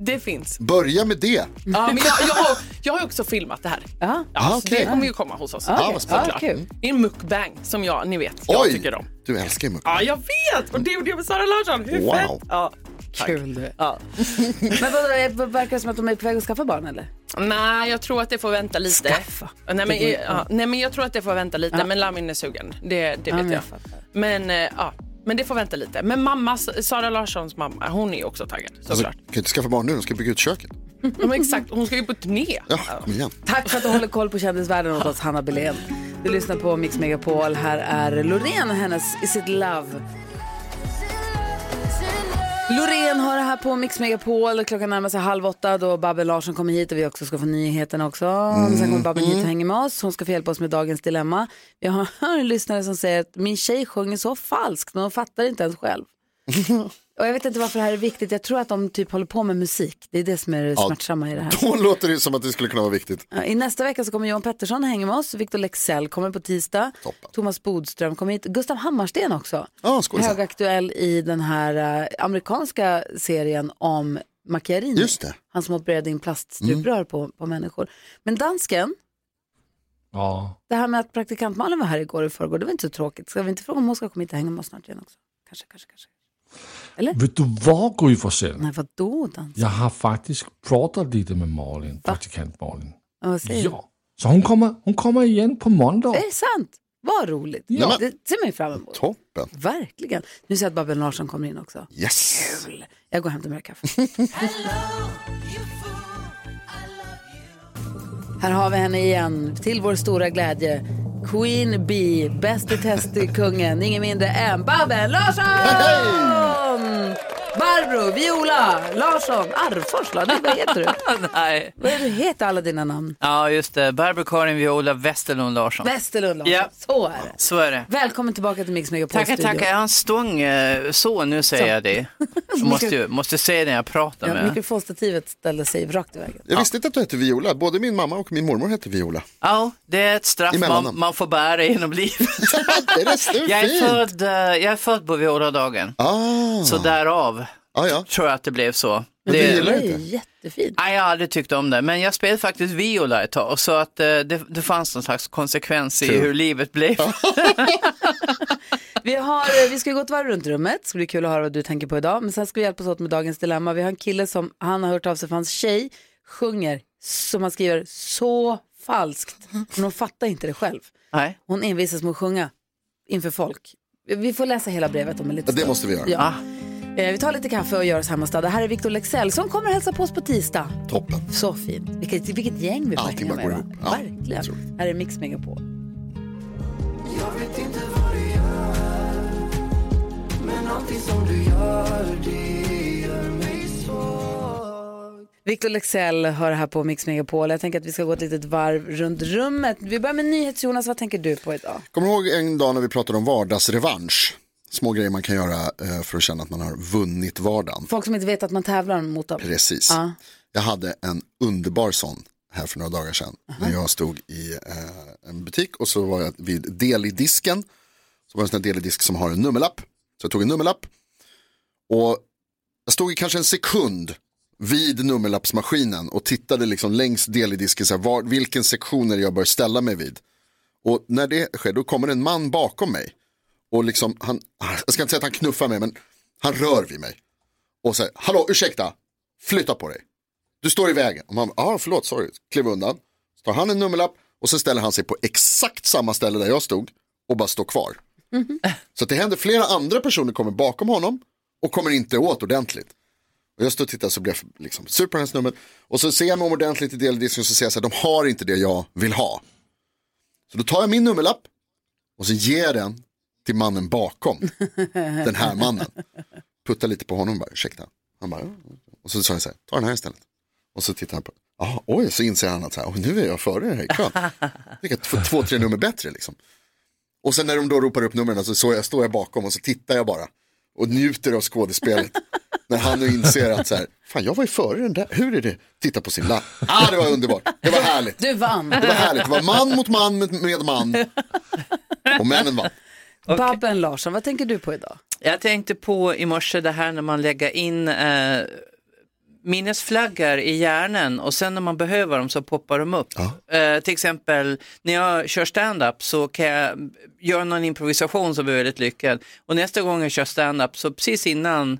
Det finns. Börja med det. Ja, men jag, jag, har, jag har ju också filmat det här. Ja, Ah, så okej. Det kommer ju komma hos oss. Ah, vad spännande. Såklart. Ah, kul. Det är en mukbang som jag, ni vet, jag Oj, tycker om. du älskar ju mukbang. Ja, jag vet! Och det gjorde jag med Sara Larsson. Hur Wow. fett? Ja. Kul det. Ja. Men vadå, det verkar det som att de är på väg att skaffa barn eller? Nej, jag tror att det får vänta lite. Skaffa. Nej, men, Det går ju- ja, nej, men jag tror att det får vänta lite. Men Lamin är sugen. Det, det Ja, men vet jag jag. Men, eh, ja. men det får vänta lite. Men mamma, Sara Larssons mamma, hon är ju också taggad. Alltså, Såklart. kan ju inte skaffa barn nu, de ska bygga ut köket. Ja, men exakt, hon ska ju på turné. Ja, kom igen. Tack för att du håller koll på kändisvärlden åt oss, Hanna Belén. Du lyssnar på Mix Megapol. Här är Loreen och hennes Is it love? Loreen har det här på Mix Megapol. Klockan närmar sig halv åtta då Babben Larsson kommer hit och vi också ska få nyheterna också. Sen kommer Babben hit och hänger med oss. Hon ska få hjälpa oss med dagens dilemma. Vi har en lyssnare som säger att min tjej sjunger så falskt men hon fattar inte ens själv. och jag vet inte varför det här är viktigt. Jag tror att de typ håller på med musik. Det är det som är det Ja. smärtsamma i det här. Då låter det som att det skulle kunna vara viktigt. Ja, I nästa vecka så kommer Johan Pettersson hänga med oss. Victor Lexell kommer på tisdag. Thomas Bodström kommer hit. Gustav Hammarsten också. Högaktuell i den här eh, amerikanska serien om Macchiarini. Just det. Han som opererade in plaststuprör på, på människor. Men dansken, Ja. det här med att praktikant Malin var här igår och i förrgår, det var inte så tråkigt. Ska vi inte fråga om hon ska komma hit och hänga med oss snart igen också? Kanske, kanske, kanske. Vil du hvor, Gry Forssell? Nej, vadå Dan? Jeg har faktisk pratet lidt med Morlin, praktikant Morlin. Ja, Vad säger Ja. Så hun kommer, hun kommer igen på måndag. du? Är det sant? Vad roligt. Ja. Det ser man ju fram emot. Toppen. Verkligen. Nu ser jag att Babben Larsson kommer in också. Yes. Kul. Jag går och hämtar mer kaffe. Här har vi henne igen, till vår stora glädje. Queen Bee, bäst i test i kungen, ingen mindre än Babben Larsson! Barbro, Viola, Larsson, Arvfors, la- nej, vad heter du? Nej. Vad är du heter alla dina namn? Ja, just det. Barbro Karin Viola Westerlund Larsson. Westerlund Larsson, Ja. så är det. Så är det. Välkommen tillbaka till Mix Megapol Tackar, studio. tackar. Jag har en stång eh, så, nu säger Så. jag det. Jag måste, ju, måste säga det när jag pratar Ja, med. mikrofonstativet ställde sig rakt i vägen. Jag visste inte att du hette Viola. Både min mamma och min mormor hette Viola. Ja, det är ett straff I mellannamn. man, man får bära genom livet. det är jag, är fint. född, eh, jag är född på Violadagen. Ah. Så därav tror jag att det blev så. Men Det- du gillar inte? Det är jättefint. Nej, jag har aldrig tyckt om det, men jag spelade faktiskt viola ett tag, så att eh, det, det fanns någon slags konsekvens i Kul. hur livet blev. Vi, har, vi ska gå ett varv runt rummet, det ska bli kul att höra vad du tänker på idag. Men sen ska vi hjälpas åt med dagens dilemma. Vi har en kille som, han har hört av sig för hans tjej sjunger, som han skriver, så falskt. Men hon fattar inte det själv. Nej. Hon envisas med att sjunga inför folk. Vi får läsa hela brevet om en liten Ja, det måste vi göra. Ja. Eh, Vi tar lite kaffe och gör oss hemmastad. Det här är Victor Lexell som kommer och hälsa på oss på tisdag. Toppen. Så fint. Vilket, vilket gäng vi får Allting hänga bara går med. va? ihop. Ja, Verkligen. Här är Mix Megapol. Jag vet inte vad du gör Men allting som du gör det gör mig svår Victor Lexell hör här på Mix Megapol. Jag tänker att vi ska gå ett litet varv runt rummet. Vi börjar med NyhetsJonas. Vad tänker du på idag? Kommer du ihåg en dag när vi pratade om vardagsrevansch? Små grejer man kan göra eh, för att känna att man har vunnit vardagen. Folk som inte vet att man tävlar mot dem. Precis. Ja. Jag hade en underbar sån här för några dagar sedan. När jag stod i eh, en butik och så var jag vid delidisken. Så var det en sån här delidisk som har en nummerlapp. Så jag tog en nummerlapp. Och jag stod i kanske en sekund vid nummerlappsmaskinen och tittade liksom längs delidisken. Så här, var, vilken sektion är det jag bör ställa mig vid? Och när det sker då kommer en man bakom mig. Och liksom, han, jag ska inte säga att han knuffar mig men han rör vid mig. Och säger, hallå ursäkta, flytta på dig. Du står i vägen. Och man, ah, förlåt, sorry, klev undan. Så tar han en nummerlapp och så ställer han sig på exakt samma ställe där jag stod och bara står kvar. Så att det händer flera andra personer kommer bakom honom och kommer inte åt ordentligt. Och jag står och tittar så blir jag liksom sur på hans nummer. Och så ser jag mig om ordentligt i deldisken och så ser jag så här, de har inte det jag vill ha. Så då tar jag min nummerlapp och så ger jag den till mannen bakom den här mannen. Puttar lite på honom och bara, ursäkta. Han bara, "Ja." och så sa jag så här, ta den här istället. Och så tittar han på, ah, oj, så inser han att så här, "Oj, nu är jag före här i kön. Vilka två, två, tre nummer bättre liksom. Och sen när de då ropar upp numren alltså, så, så jag, står jag bakom och så tittar jag bara. Och njuter av skådespelet. när han nu inser att så här, fan jag var ju före den där, hur är det? Titta på sin lapp. Ah, det var underbart, det var härligt. Du vann. Det var härligt, det var man mot man med, med man. Och männen vann. Babben Larsson, vad tänker du på idag? Jag tänkte på i morse det här när man lägger in eh, minnesflaggor i hjärnan och sen när man behöver dem så poppar de upp. Eh, till exempel när jag kör stand-up så kan jag göra någon improvisation som är väldigt lyckad och nästa gång jag kör stand-up så precis innan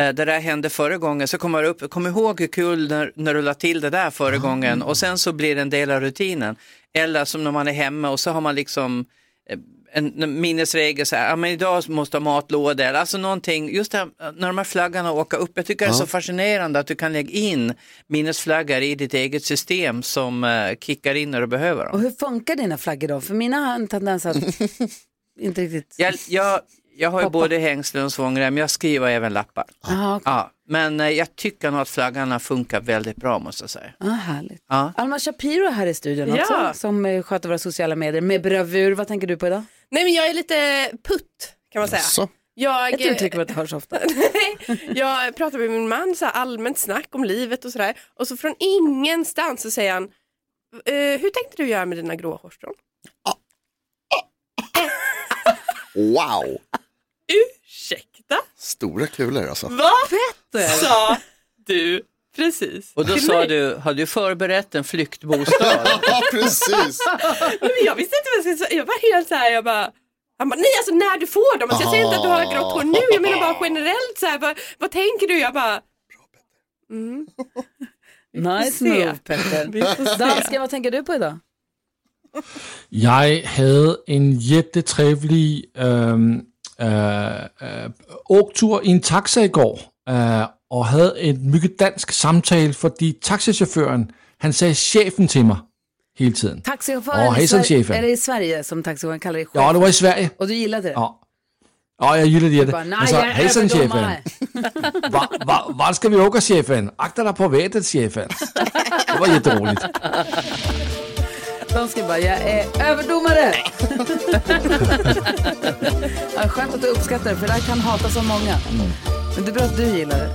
eh, det där hände förra gången så kommer jag upp, kom ihåg hur kul när, när du la till det där Mm. förra gången och sen så blir det en del av rutinen. Eller som när man är hemma och så har man liksom eh, en en minnesregel, så här, ja, men idag måste ha matlåda eller alltså någonting, just det här, när de här flaggarna åker upp, jag tycker det är Ja. så fascinerande att du kan lägga in minnesflaggor i ditt eget system som eh, kickar in när du behöver dem. Och hur funkar dina flaggor då? För mina har en tendens att inte riktigt... Jag, jag, jag har ju både hängslen och svångrem, jag skriver även lappar. Jaha, okej. Ja, men eh, jag tycker nog att flaggarna funkar väldigt bra måste jag säga. ah, härligt. Ja. Alma Shapiro är här i studion Ja. också, som eh, sköter våra sociala medier med bravur. Vad tänker du på idag? Nej men jag är lite putt kan man säga. Jag, Ett uttryck som inte hörs ofta. jag pratar med min man så här allmänt snack om livet och sådär och så från ingenstans så säger han "Eh, hur tänkte du göra med dina gråa hårstrån? Wow, Ursäkta, stora kulor alltså. vad sa du precis? Och då till sa mig?" du, har du förberett en flyktbostad? Ja, precis. Nej, men jag visste inte vad jag skulle säga, jag var helt så här, jag bara Han bara, nej alltså när du får dem, alltså, jag säger inte att du Ah. har grått hår nu, jag menar bara generellt så här, vad, vad tänker du? Jag bara, mm. Nice Vi får se. move Petter. Vi får se. Dansken, vad tänker du på idag? Jeg havde en jättetrevlig øhm, øh, øh, ågtur i en taxa i går, øh, og havde en mycket dansk samtale, fordi taxichaufføren, han sagde chefen til mig hele tiden. Taxichauffören Åh, i hejsan, Sverige- chefen. är det i Sverige som taxichauffören kallar dig Ja, det var i Sverige. Och du gillade det? Ja. Og jeg gillede det. Du bara, nej, Han jag är hejsan chefen. överdomare. Var, var, var skal vi åka chefen? Akta dig på vettet, chefen. Det var jätteroligt. De ska bara, jag är överdomare. ja, skönt att du uppskattar det, för det här kan hatas av många. Mm. Men det är bra att du gillar det.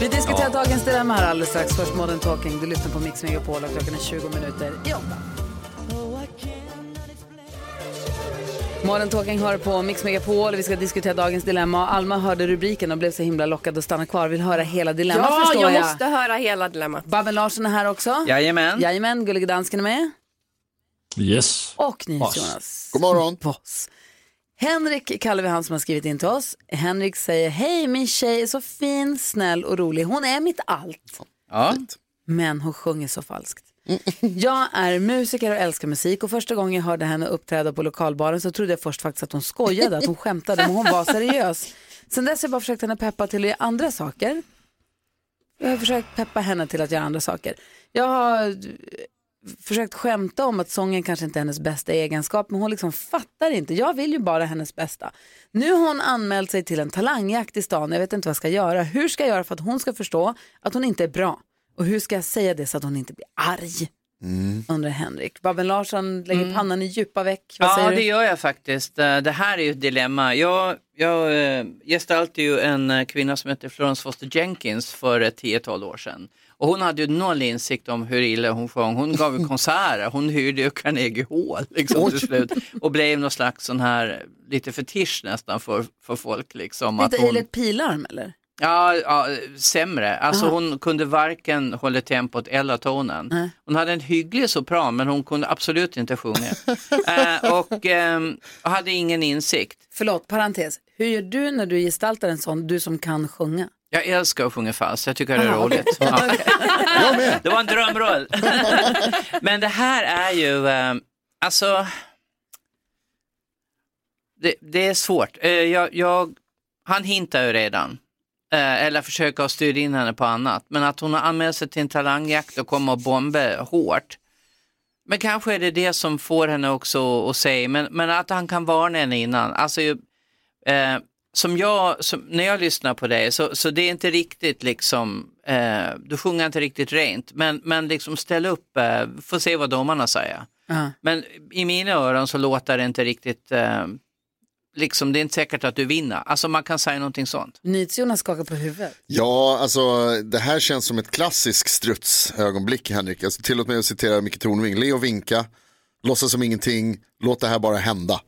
Vi diskuterar dagens dilemma här alldeles strax. Först Modern Talking. Du lyssnar på Mix Megapol och klockan är 20 minuter i åtta. Modern Talking hör på Mix Megapol. Vi ska diskutera dagens dilemma. Och Alma hörde rubriken och blev så himla lockad att stanna kvar. Vill höra hela dilemmat ja förstår jag jag. måste höra hela dilemmat. Babben Larsson är här också. Jajamän. Jajamän, Gullige Dansken är med. Yes. Och NyhetsJonas. God morgon. Boss. Henrik kallar vi han som har skrivit in till oss. Henrik säger, hej min tjej är så fin, snäll och rolig. Hon är mitt allt. Ja. Men hon sjunger så falskt. Jag är musiker och älskar musik och första gången jag hörde henne uppträda på lokalbaren så trodde jag först faktiskt att hon skojade, att hon skämtade, men hon var seriös. Sen dess har jag bara försökt henne peppa till att göra andra saker. Jag har försökt peppa henne till att göra andra saker. Jag har eh, försökt skämta om att sången kanske inte är hennes bästa egenskap, men hon liksom fattar inte. Jag vill ju bara hennes bästa. Nu har hon anmält sig till en talangjakt i stan. Jag vet inte vad jag ska göra. Hur ska jag göra för att hon ska förstå att hon inte är bra? Och hur ska jag säga det så att hon inte blir arg? Undrar Henrik. Babben Larsson lägger pannan i djupa veck. Vad Mm. Ja, säger det du? gör jag faktiskt. Eh, Det här är ju ett dilemma. Jag, jag eh, gestaltade ju en eh, kvinna som heter Florence Foster Jenkins för ett tiotal år sedan. Och hon hade ju noll insikt om hur illa hon sjöng. Hon gav ju konserter, hon hyrde ju Carnegie Hall liksom, till slut. Och blev någon slags sån här, lite fetisch nästan för, för folk. Liksom, Lite hon... Eilert Pilarm eller? Ja, ja, sämre. Alltså Aha. hon kunde varken hålla tempot eller tonen. Nej. Hon hade en hygglig sopran men hon kunde absolut inte sjunga. eh, och ehm, hade ingen insikt. Förlåt, parentes. Hur gör du när du gestaltar en sån, du som kan sjunga? Jag älskar att sjunga falskt, jag tycker det är Aha, okej. roligt. Ja. Det var en drömroll. Men det här är ju, eh, alltså, det, det är svårt. Eh, jag, jag, han hintar ju redan, eh, eller försöker att styra in henne på annat. Men att hon har anmält sig till en talangjakt och kommer att bomba hårt. Men kanske är det det som får henne också att säga, men, men att han kan varna henne innan. Alltså, ju- eh, som jag, som, när jag lyssnar på dig så, så det är inte riktigt liksom, eh, du sjunger inte riktigt rent, men, men liksom ställ upp, eh, får se vad domarna säger. Ja. Men i mina öron så låter det inte riktigt, eh, liksom det är inte säkert att du vinner. Alltså man kan säga någonting sånt. NyhetsJonas skakar på huvudet. Ja, alltså det här känns som ett klassiskt strutsögonblick Henrik. Alltså, tillåt mig att citera Micke Tornving. Le och vinka, låtsas som ingenting, låt det här bara hända.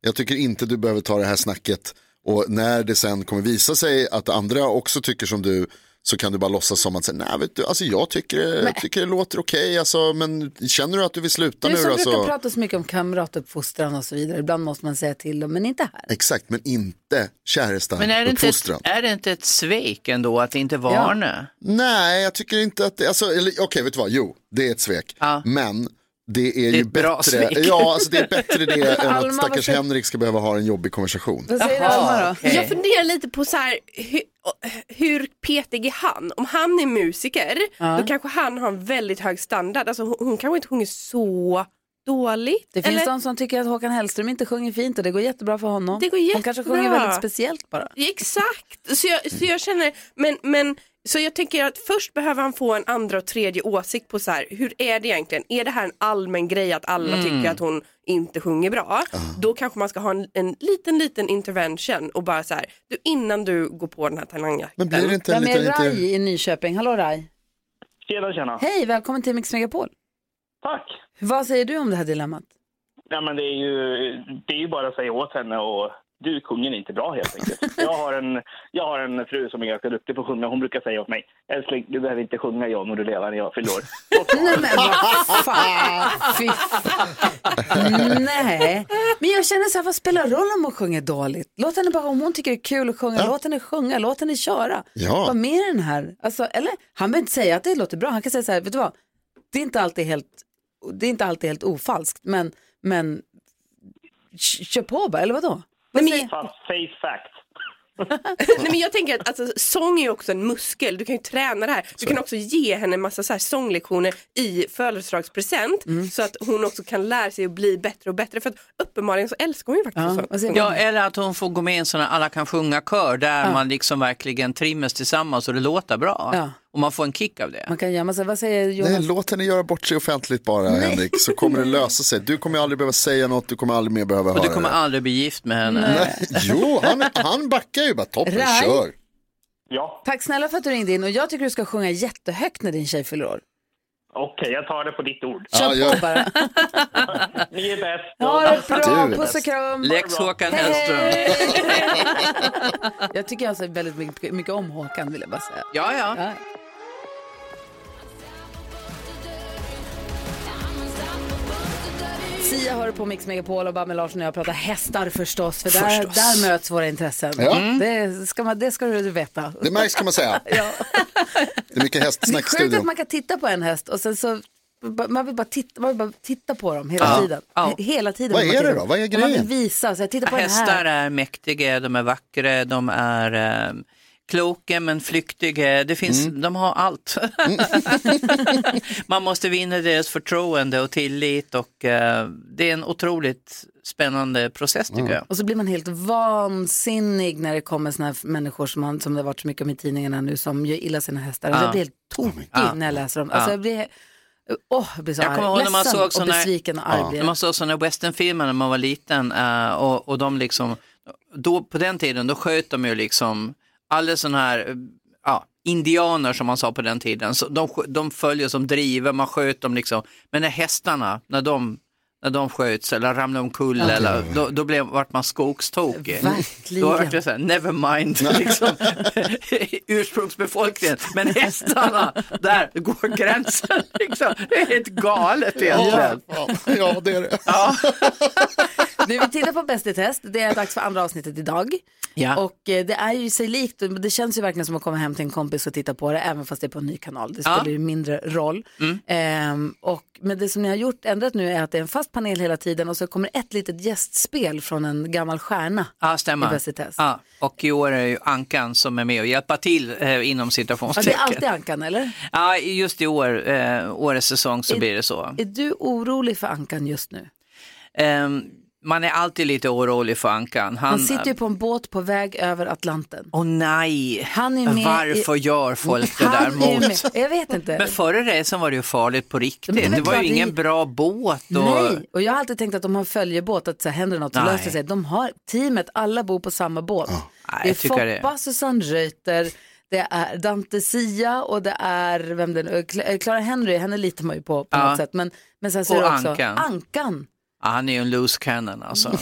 Jag tycker inte du behöver ta det här snacket. Och när det sen kommer visa sig att andra också tycker som du så kan du bara låtsas som att säga, nej vet du, alltså jag tycker, jag tycker det låter okej, alltså, men känner du att du vill sluta Du nu alltså- som då? brukar så- prata så mycket om kamratuppfostran och så vidare. Ibland måste man säga till dem, men inte här. Exakt, men inte käresta Men är det, inte ett, uppfostran. är det inte ett svek ändå att inte varna? Nej, jag tycker inte att det, alltså, eller, okej vet du vad, jo, det är ett svek. Men det är, ju ett bra bättre, svek. ja, alltså, det är bättre det än Alma, att vad stackars säger- Henrik ska behöva ha en jobbig konversation. Jag funderar lite på så här, hur, hur petig är han? Om han är musiker, Ja. då kanske han har en väldigt hög standard. Alltså hon, hon kanske inte sjunger så dåligt. Det finns eller? de som tycker att Håkan Hellström inte sjunger fint och det går jättebra för honom. Det går Hon kanske jättebra. sjunger väldigt speciellt bara. Exakt, så jag, så jag känner, men, men så jag tänker att först behöver han få en andra och tredje åsikt på så här, hur är det egentligen? Är det här en allmän grej att alla Mm. tycker att hon inte sjunger bra? Då kanske man ska ha en, en liten, liten intervention och bara så här, du, innan du går på den här talangjakten. Men blir det inte en Vem är liten... Rai Inte... i Nyköping? Hallå Rai. Tjena, tjena. Hej, välkommen till Mix Megapol. Tack. Vad säger du om det här dilemmat? Nej, men det är ju, det är ju bara att säga åt henne och du sjunger inte bra helt enkelt. Jag har en, jag har en fru som är ganska duktig på att sjunga. Hon brukar säga åt mig, älskling, du behöver inte sjunga jag må du leva när jag fyller år. Nej men vad fan, fy fan. Nej, men jag känner så här, vad spelar roll om hon sjunger dåligt? Låt henne bara, om hon tycker det är kul att sjunga, låt henne sjunga, låt henne köra. Ja. Vad mer den här, alltså, eller han behöver inte säga att det låter bra, han kan säga så här, vet du vad, det är inte alltid helt, det är inte alltid helt ofalskt, men, men k- kör på bara, eller vadå? Nej, men... Face fact. Nej, men jag tänker att alltså, sång är ju också en muskel, du kan ju träna det här. Du kan också ge henne en massa så här sånglektioner i födelsedagspresent så att hon också kan lära sig att bli bättre och bättre. För att uppenbarligen så älskar hon ju faktiskt sång. Ja, eller att hon får gå med i en sån här alla kan sjunga-kör där man liksom verkligen trimmas tillsammans och det låter bra. Ja. Och man får en kick av det. Man kan gömma sig, vad säger Jonas? Nej, låt henne göra bort sig offentligt bara Henrik, så kommer det lösa sig. Du kommer ju aldrig behöva säga något, du kommer aldrig mer behöva Och höra du kommer det. aldrig bli gift med henne. Nej. Jo, han, han backar ju bara, toppen, Rai? kör. Tack snälla för att du ringde in och jag tycker du ska sjunga jättehögt när din tjej fyller år. Okej, jag tar det på ditt ord. Kör Ja, gör på det. Ni är bäst. Ha det bra, Du är puss och bäst. kram. Lex Håkan Hej! Hellström. jag tycker jag säger väldigt mycket, mycket om Håkan vill jag bara säga. Ja, ja. Sia hör på Mix Megapol och Babbel Larsson och jag pratar hästar förstås, för där, Förstås. där möts våra intressen. Mm. Ja. Det, ska man, det ska du veta. Det märks kan man säga. Det är mycket hästsnack i Sjukt att studion. man kan titta på en häst och sen så man vill bara titta, man vill bara titta på dem hela Ja. tiden. Ja. He- Hela tiden. Vad vill man är titta det på då? dem. Vad är Och Man grejen? vill visa, så jag tittar på den Hästar här. är mäktiga, de är vackra, de är eh, kloka men flyktiga. Det finns, De har allt. Man måste vinna deras förtroende och tillit och eh, det är en otroligt spännande process tycker jag. Och så blir man helt vansinnig när det kommer såna här människor som, man, som det har varit så mycket om i tidningarna nu som gör illa sina hästar. Alltså Ja. jag blir helt tokig Ja. när jag läser dem. Alltså Ja. jag blir, åh, jag blir så Jag arg. kommer ihåg när man Ledsen såg såna, och besviken och arg Ja. blir när jag. man såg såna westernfilmer när man var liten eh, och, och de liksom, då, på den tiden då sköt de ju liksom alla sådana här eh, ja, indianer som man sa på den tiden, så de, skö- de följer som driver, man sköt dem liksom, men när hästarna, när de när de sköts eller ramlade omkull Ja. eller då, då blev, vart man skogstokig. Verkligen. Då vart det så här, never mind, liksom, ursprungsbefolkningen, men hästarna, där går gränsen. Liksom. Det är helt galet egentligen. Ja, det är det. Nu vi tittar på Bäst i test. Det är dags för andra avsnittet idag. Ja. Och eh, det är ju sig likt. Det känns ju verkligen som att komma hem till en kompis och titta på det, även fast det är på en ny kanal. Det Ja. Mm. spelar ju mindre roll. Ehm, och, men det som ni har gjort, ändrat nu, är att det är en fast panel hela tiden och så kommer ett litet gästspel från en gammal stjärna. Ja, stämmer. I Bäst i test. Ja, och i år är ju Ankan som är med och hjälpar till eh, inom Ja, det citationstecken. är alltid Ankan, eller? Ja, just i år, eh, årets säsong så blir det så. Är du orolig för Ankan just nu? Ehm, man är alltid lite orolig för Ankan. Han, sitter eh, ju på en båt på väg över Atlanten. Åh nej, han är med varför i... gör folk det där Han är ju mot? med. Jag vet inte. Men förra resan var det ju farligt på riktigt. Men det Det, vet var vad, ju det- ingen bra båt. Och... Nej, och jag har alltid tänkt att om man följer båt, att så här, händer något så Nej. löser det sig. De har teamet, alla bor på samma båt. Nej, det är jag tycker det. Foppa, Susanne Reuter, det är Dante Sia och det är, vem den, eh, Cla- eh, Clara Henry, henne litar man ju på på Ja. något sätt. Men, men sen så är Och det också Ankan. Ankan. Ja, han är ju en loose cannon alltså.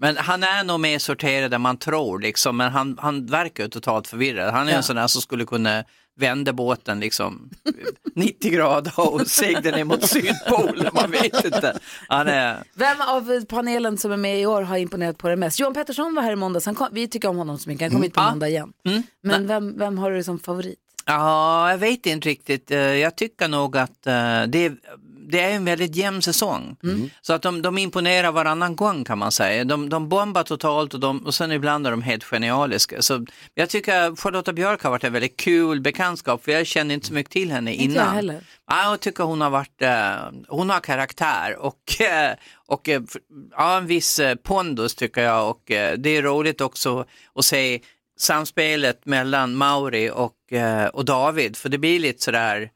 Men han är nog mer sorterad än man tror, liksom. men han, han verkar ju totalt förvirrad. Han är Ja. en sån där som skulle kunna vända båten liksom 90 grader och segla ner mot Sydpolen, man vet inte. Han är... Vem av panelen som är med i år har imponerat på dig mest? Johan Pettersson var här i måndags, han kom, vi tycker om honom så mycket, han Mm. kommer hit på Ja. måndag igen. Men vem, vem har du som favorit? Ja, jag vet inte riktigt. Eh, Jag tycker nog att eh, det, det är en väldigt jämn säsong. Mm. Så att de, de imponerar varannan gång kan man säga. De, de bombar totalt och, de, och sen ibland är de helt genialiska. Så jag tycker Charlotta Björk har varit en väldigt kul bekantskap för jag kände inte så mycket till henne Inte innan. jag heller. Ja, jag tycker hon har varit, eh, hon har karaktär och, eh, och eh, för- ja, en viss eh, pondus tycker jag och eh, det är roligt också att se samspelet mellan Mauri och, eh, och David för det blir lite sådär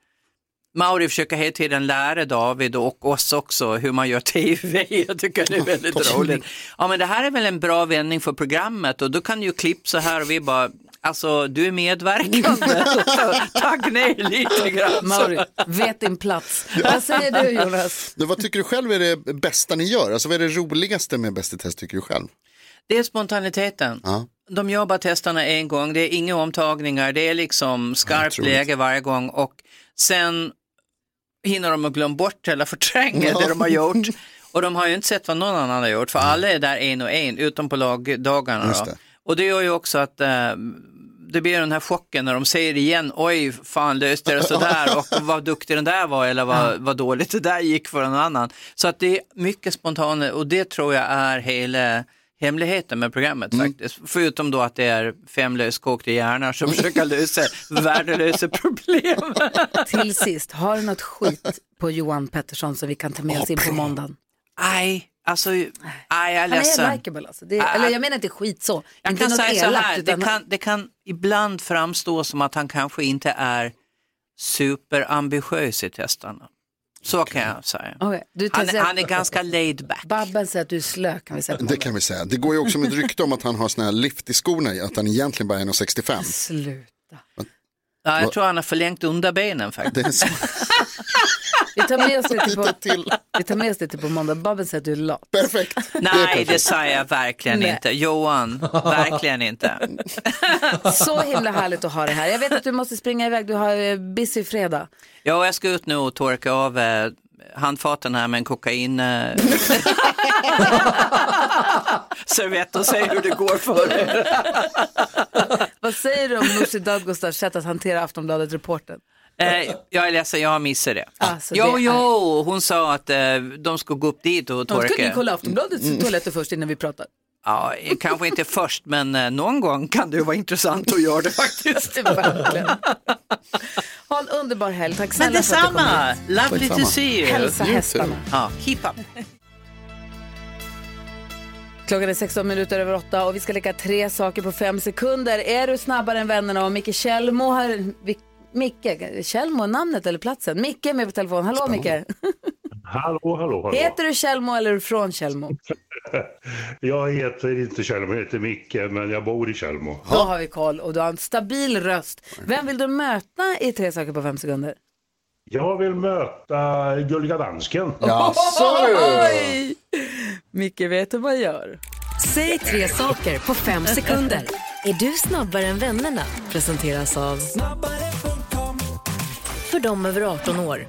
Mauri försöker hela tiden lära David och oss också hur man gör tv. Jag tycker det är väldigt roligt. Ja men det här är väl en bra vändning för programmet och då kan ju klipp så här och vi bara, Alltså, du är medverkande. Tack nej lite grann. Mauri, vet din plats. Vad säger du Jonas? Du, vad tycker du själv är det bästa ni gör? Alltså, vad är det roligaste med Bäst i test tycker du själv? Det är spontaniteten. Ja. De gör bara testarna en gång, det är inga omtagningar, det är liksom skarpt otroligt. läge varje gång och sen hinner de att glömma bort eller förtränga Ja. det de har gjort. Och de har ju inte sett vad någon annan har gjort, för alla är där en och en, utom på lagdagarna. Just Då. det. Och det gör ju också att eh, det blir den här chocken när de säger igen, oj, fan löste det sådär och vad duktig den där var eller vad, vad dåligt det där gick för en annan. Så att det är mycket spontant och det tror jag är hela hemligheten med programmet faktiskt. Förutom då att det är fem löskokta hjärnor som försöker lösa värdelösa problem. Till sist, har du något skit på Johan Pettersson som vi kan ta med oss in på måndagen? Nej, alltså, nej, jag är Han är ledsen. Ah. likeable alltså. Det är, eller jag menar inte skit så. Jag inte kan något säga så elakt, här, det utan- kan, det kan ibland framstå som att han kanske inte är superambitiös i testarna. Så kan jag säga. Okej, du Han, testar- han är ganska laid back. Babben säger att du är slö kan vi säga. på Det kan vi säga. Det går ju också med ett rykte om att han har såna här lift i skorna, i, att han egentligen bara är 1,65. Slut. Ja, Vad- jag tror han har förlängt underbenen faktiskt. Vi tar med oss det på, Vi tar med oss det till på måndag. Babben säger att du är lat. Perfekt. Nej, det sa jag verkligen Nej. inte. Johan, verkligen inte. Så himla härligt att ha det här. Jag vet att du måste springa iväg, du har eh, busy fredag. Ja, jag ska ut nu och torka av eh, handfaten här med en kokain... Eh... servett och se hur det går för er. Vad säger du om Nooshi Dadgostars sätt att hantera Aftonbladet-reportern? Eh, jag är ledsen, jag missade det. Alltså, jo, det är- jo, hon sa att eh, de skulle gå upp dit och Hon torka. skulle ju kolla Aftonbladets Mm. toaletter först innan vi pratar. Ja, eh, kanske inte först, men eh, någon gång kan det ju vara intressant att göra det faktiskt. Ha en underbar helg, tack men snälla för att detsamma, lovely du kom hit. to see you. Hälsa hästarna. Ja, keep up. Klockan är 16 minuter över 8 och vi ska leka tre saker på fem sekunder. Är du snabbare än vännerna och Micke Kjellmo har... Vi- Micke, Kjellmo är namnet eller platsen? Micke är med på telefon. Hallå Micke! Hallå, hallå, hallå. Heter du Kjellmo eller är du från Kjellmo? Jag heter inte Tjällmo, jag heter Micke, men jag bor i Tjällmo. Då har vi koll och du har en stabil röst. Vem vill du möta i tre saker på fem sekunder? Jag vill möta Gulliga Dansken. Oj! Micke vet hur man gör. Säg tre saker på fem sekunder. Är du snabbare än vännerna? Presenteras av för dem över 18 år.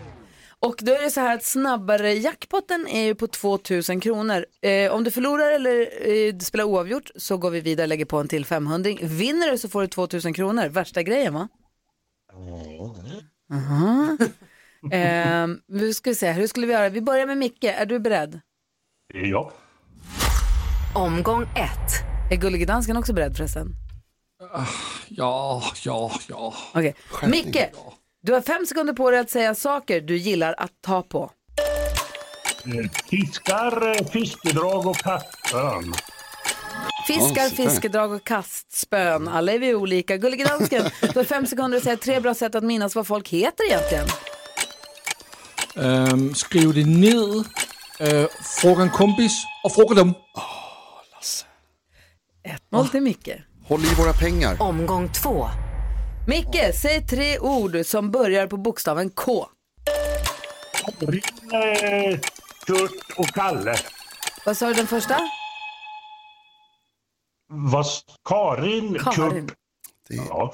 Och då är det så här att snabbare jackpotten är ju på 2000 kronor. Eh, om du förlorar eller eh, du spelar oavgjort så går vi vidare och lägger på en till 500. Vinner du så får du 2000 kronor. Värsta grejen va? Aha. Eh, nu ska vi se, här. hur skulle vi göra? Vi börjar med Micke, är du beredd? Ja. Omgång ett. Är Gullige Dansken också beredd förresten? Ja, ja, ja. Okej. Micke, du har fem sekunder på dig att säga saker du gillar att ta på. Fiskar, eh, fiskedrag och kattön. Fiskar, Ja, så där. fiskedrag och kastspön. Alla är vi olika. Gullige dansken, du har fem sekunder att säga tre bra sätt att minnas vad folk heter egentligen. Øhm, skriv det ned. Øh, fråga en kompis og fråga dem. Noll till Micke. Håll i våra pengar. Omgång två. Micke, säg tre ord som börjar på bokstaven K. Rinne, eh, Kurt och Kalle. Vad sa du den första? Vad, s- Karin, Karin. Kurt.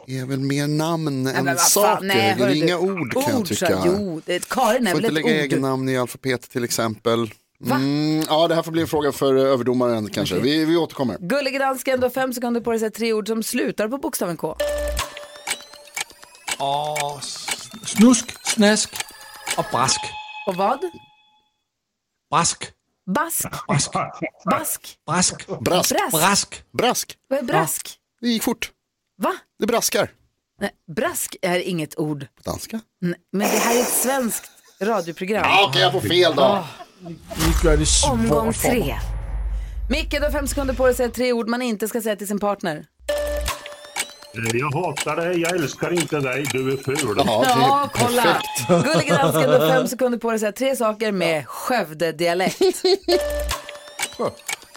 Det är väl mer namn Nej, men än vad fan, saker. nej, det är hörru du. inga ord kan jag Ord, tycka. sa- jo, det- Karin är får väl inte ett lägga ord? egen namn i alfabetet till exempel. Mm, ja, det här får bli en fråga för eh, överdomaren kanske. Vi, vi återkommer. Gullige dansken, du har fem sekunder på dig att säga tre ord som slutar på bokstaven K. Og s- snusk, snask og brask. Och vad? Brask. Bask. Brask. Bask. Brask. Brask. Brask. Brask. Vad är brask? Det gick fort. Va? Det braskar. Nej, brask är inget ord. På danska? Nej, Men det här är ett svenskt radioprogram. Ja, okej, jag får fel då. Ah. Vi gør det svårt Omgång for mig. tre. Micke, du har fem sekunder på dig att säga tre ord man inte ska säga till sin partner. Eh, Jag hatar dig, jag älskar inte dig, du är ful. Ja, kolla! Gullige dansken, du har fem sekunder på dig att säga tre saker med Skövde-dialekt.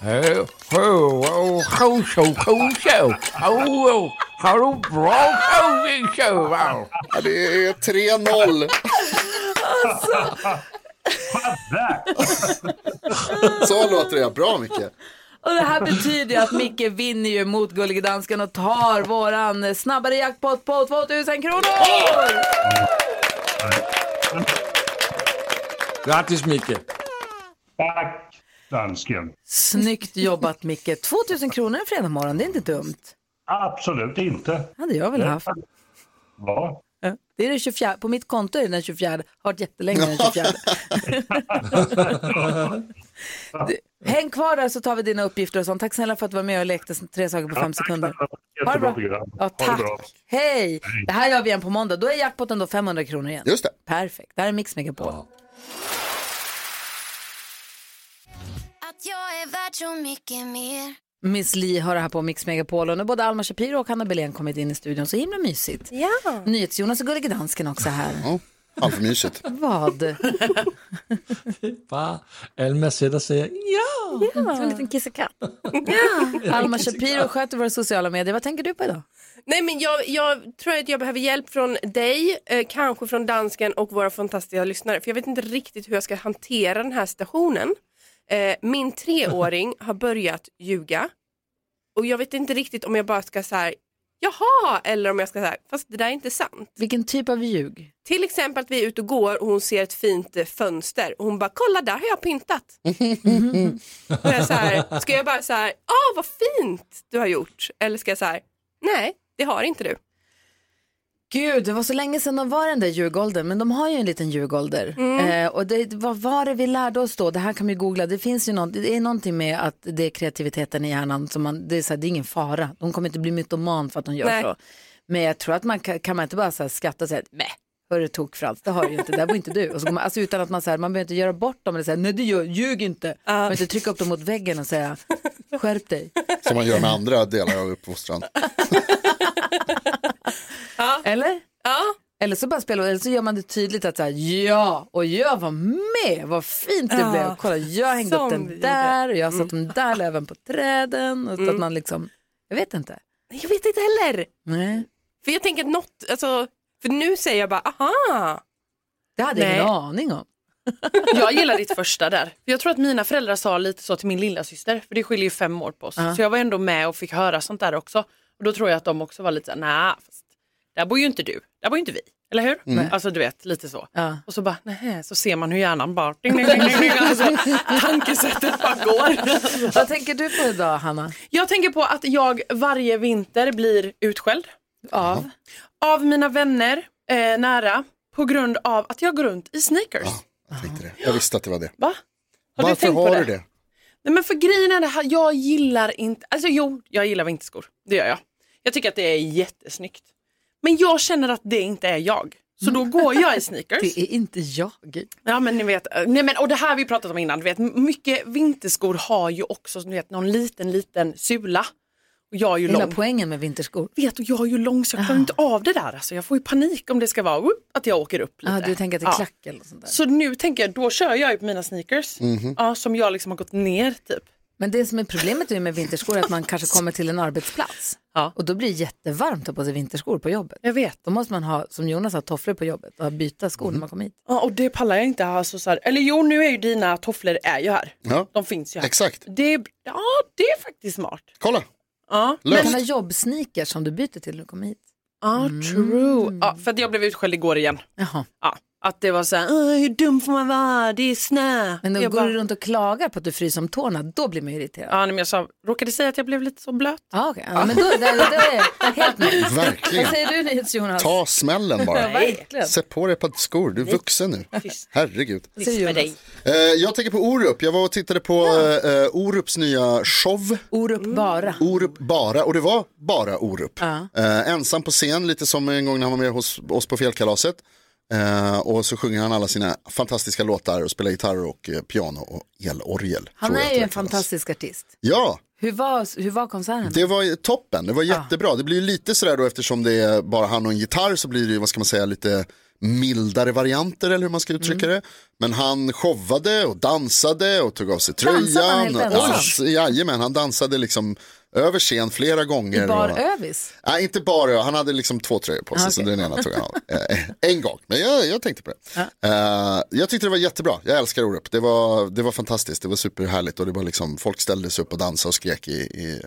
Øh, ho, ho, ho, ho, ho, ho, ho, Har du bra övningsövare? Det är 3-0. Alltså. Så låter det. Bra Micke. Och det här betyder ju att Micke vinner ju mot Gullige Dansken och tar våran snabbare jackpot på 2000 kronor! Grattis Micke. Tack, dansken. Snyggt jobbat Micke! 2000 kronor en fredag morgon, det är inte dumt. Absolut inte. hade jag väl haft. Ja. Det är den 24, på mitt konto är det den 24, har varit jättelänge den 24. Du, Häng kvar där så tar vi dina uppgifter och sånt. Tack snälla för att du var med och lekte tre saker på fem sekunder. Ha det Jättebra bra. program. Ja, Ha tack. det bra. Hej! Det här gör vi igen på måndag. Då är jackpotten då 500 kronor igen. Just det. Perfekt. Det här är Mix Megapol. Att jag är värd så mycket mer. Miss Li har det här på Mix Megapol och nu har både Alma Shapiro och Hanna Belén kommit in i studion. Så himla mysigt. Ja. NyhetsJonas och Gullige Dansken också här. Halvmysigt. Vad? Bara Alma sätter sig. Ja! Som en liten kissekatt. Ja. Alma Shapiro sköter våra sociala medier. Vad tänker du på idag? Nej men jag, jag tror att jag behöver hjälp från dig, eh, kanske från dansken och våra fantastiska lyssnare. För jag vet inte riktigt hur jag ska hantera den här situationen. Eh, min treåring har börjat ljuga. Och jag vet inte riktigt om jag bara ska så här, jaha, eller om jag ska så här, fast det där är inte sant. Vilken typ av ljug? Till exempel att vi är ute och går och hon ser ett fint eh, fönster och hon bara, kolla där har jag pyntat. Och jag så här, ska jag bara så här, ah vad fint du har gjort. Eller ska jag så här, nej det har inte du. Gud, det var så länge sedan de var i den där ljugåldern, men de har ju en liten ljugålder. Mm. Eh, och det, vad var det vi lärde oss då? Det här kan vi googla. Det finns ju något, det är någonting med att det är kreativiteten i hjärnan, som man, det, är så här, det är ingen fara. De kommer inte bli mytoman för att de gör Nej. så. Men jag tror att man kan, kan man inte bara så här skratta och säga, nej, hörru tokfrans, det har du ju inte, det där var inte du. Och så går man, alltså utan att man, så här, man behöver inte göra bort dem eller säga, nej du gör, ljug inte. Man behöver inte trycka upp dem mot väggen och säga, skärp dig. Som man gör med andra delar av uppfostran. Eller? Ja. Eller så bara spelar, eller så gör man det tydligt att så här, ja, och jag var med, vad fint det Ja. blev. Kolla, jag hängde Som upp vi den gjorde. Mm. där och jag satte de där löven på träden. Och så att man liksom, jag vet inte. Nej, Jag vet inte heller. Nej. För jag tänker att något, alltså, för nu säger jag bara aha. Det hade jag Nej. ingen aning om. Jag gillar ditt första där. För Jag tror att mina föräldrar sa lite så till min lilla syster. för det skiljer ju fem år på oss. Ja. Så jag var ändå med och fick höra sånt där också. Och då tror jag att de också var lite så här, nej, fast där bor ju inte du, där bor ju inte vi. Eller hur? Mm. Alltså du vet, lite så. Ja. Och så bara, nej, så ser man hur hjärnan bara, ding, ding, ding, ding, ding. alltså, tankesättet bara går. Vad tänker du på idag, Hanna? Jag tänker på att jag varje vinter blir utskälld. Av? Av mina vänner, eh, nära, på grund av att jag går runt i sneakers. Jag visste att det var det. Va? Har du Varför tänkt på har det? du det? Nej men för grejen är det här, jag gillar inte, alltså jo, jag gillar vinterskor. Det gör jag. Jag tycker att det är jättesnyggt. Men jag känner att det inte är jag. Så då går jag i sneakers. Mm. Det är inte jag. Ja men ni vet, eh, nej men och det här har vi pratat om innan, du vet mycket vinterskor har ju också ni vet, någon liten liten sula. Och jag är ju Hela lång. poängen med vinterskor. Vet du, jag är ju lång så jag Ah. klarar inte av det där alltså. Jag får ju panik om det ska vara whoop, att jag åker upp lite. Ah, du tänker att det är Ja. klack eller sånt där. Så nu tänker jag, då kör jag ju på mina sneakers. Ja, som jag liksom har gått ner typ. Men det som är problemet är med vinterskor är att man kanske kommer till en arbetsplats och då blir det jättevarmt att ha på sig vinterskor på jobbet. Jag vet. Då måste man ha, som Jonas har, tofflor på jobbet och byta skor när man kommer hit. Ja, och det pallar jag inte ha. Alltså, så här. Eller jo, nu är ju dina tofflor är ju här. Ja. De finns ju här. Exakt. Det, ja, det är faktiskt smart. Kolla. Ja, Du kan ha jobbsneakers som du byter till när du kommer hit. Ja, Mm. true. Ja, för att jag blev utskälld igår igen. Jaha. Ja, att det var så här, "Åh, hur dum får man vara, det är snö. Men då jag går du runt och klagar på att du fryser om tårna, då blir man ju irriterad. Ja, nej, men jag sa, råkade säga att jag blev lite så blöt. Ja, okej. Ja, men då, det, det är helt med. Verkligen. Vad säger du NyhetsJonas? Ta smällen bara. Ja, verkligen. Sätt på dig ett par skor, du är vuxen nu. Herregud. Vad säger Jonas? Eh, jag tänker på Orup, jag var och tittade på eh, Orups nya show. Orup bara. Mm. Orup bara, och det var bara Orup. Eh, ensam på scen, lite som en gång när han var med hos oss på Fjällkalaset. Eh, och så sjunger han alla sina fantastiska låtar och spelar gitarr och eh, piano och elorgel. Han tror jag är att ju det en fantastisk artist. Ja, Hur var, hur var konserten? det var ju toppen, det var jättebra. Det blir ju lite sådär då eftersom det är bara han och en gitarr så blir det ju, vad ska man säga, lite mildare varianter eller hur man ska uttrycka Mm. det. Men han showade och dansade och tog av sig Dansade han tröjan. helt ensam? Oj, jajamän, han dansade liksom över scen flera gånger. I bar och- övis? Nej, inte bara Han hade liksom två tröjor på sig, Ah, så okej. den ena tog han av. Eh, En gång, men jag, jag tänkte på det. Ah. Eh, jag tyckte det var jättebra, jag älskar Orup. Det var, det var fantastiskt, det var superhärligt och det var liksom, folk ställde sig upp och dansade och skrek i, i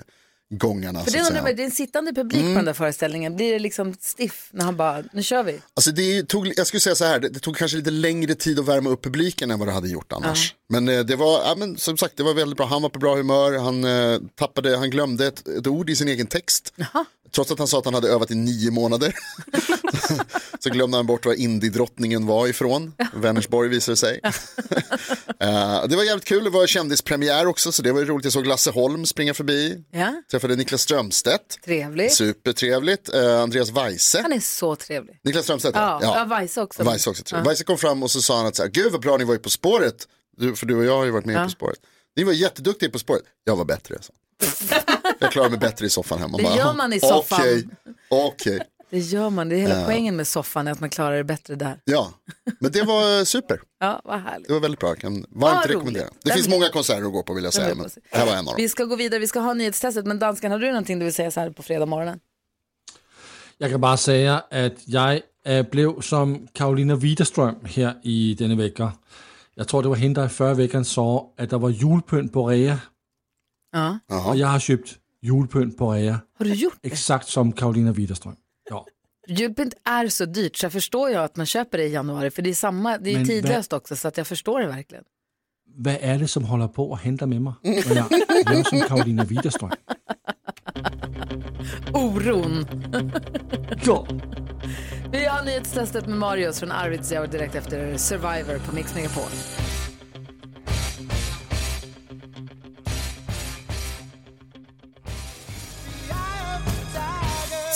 gångarna. För så det att undrar säga. man, det är en sittande publik på Mm. den där föreställningen. Blir det liksom stiff när han bara, nu kör vi? Alltså det tog, jag skulle säga så här, det, det tog kanske lite längre tid att värma upp publiken än vad det hade gjort annars. Men eh, det var, ja, men, som sagt, det var väldigt bra, han var på bra humör, han, eh, tappade, han glömde ett, ett ord i sin egen text. Trots att han sa att han hade övat i nio månader. så glömde han bort var indiedrottningen var ifrån, Vänersborg visade det sig. Eh, det var jävligt kul, det var kändispremiär också, så det var ju roligt. Jag såg Lasse Holm springa förbi, Ja, träffade Niklas Strömstedt. trevlig. Supertrevligt. Eh, Andreas Weise. Han är så trevlig. Niklas Strömstedt, Ja, ja. Weise också. Weise också tror jag. Ja. Weise kom fram och så sa han att så här, gud vad bra ni var i På spåret. Du, för du och jag har ju varit med i Ja. På spåret. Ni var jätteduktiga i På spåret. Jag var bättre. Så. jag klarar mig bättre i soffan hemma. Det Bara, gör man i "Jaha, soffan." Okej, okej. Det gör man, det är hela Ja. poängen med soffan, är att man klarar det bättre där. Ja, men det var eh, super. Ja, vad härligt. Det var väldigt bra. Jag kan Vad varmt roligt. rekommendera. Det Den finns vill- många konserter att gå på vill jag Den säga. vill Men jag det här var en av dem. Vi ska gå vidare, vi ska ha nyhetstestet, men danskan, har du någonting du vill säga så här på fredag morgonen? Jeg kan bare sige, at jeg øh, blev som Karolina Widerstrøm her i denne vækker. Jeg tror, det var hende, der i 40 vækkeren så, at der var julepynt på Rea, Ja. og jeg har købt julepynt på Rea. Har du gjort det? Exakt som Karolina Widerström. Ja. Julpynt är så dyrt så jag förstår ju att man köper det i januari för det är samma, det är Men tidlöst också så att jeg förstår det verkligen. Hvad er det, som holder på og henter med mig, når jeg laver som Karolina Widerstrøm? Oron. ja. Vi har nyhetstestet med Marius från Arvidsjaur direkt efter Survivor på Mix Megapol.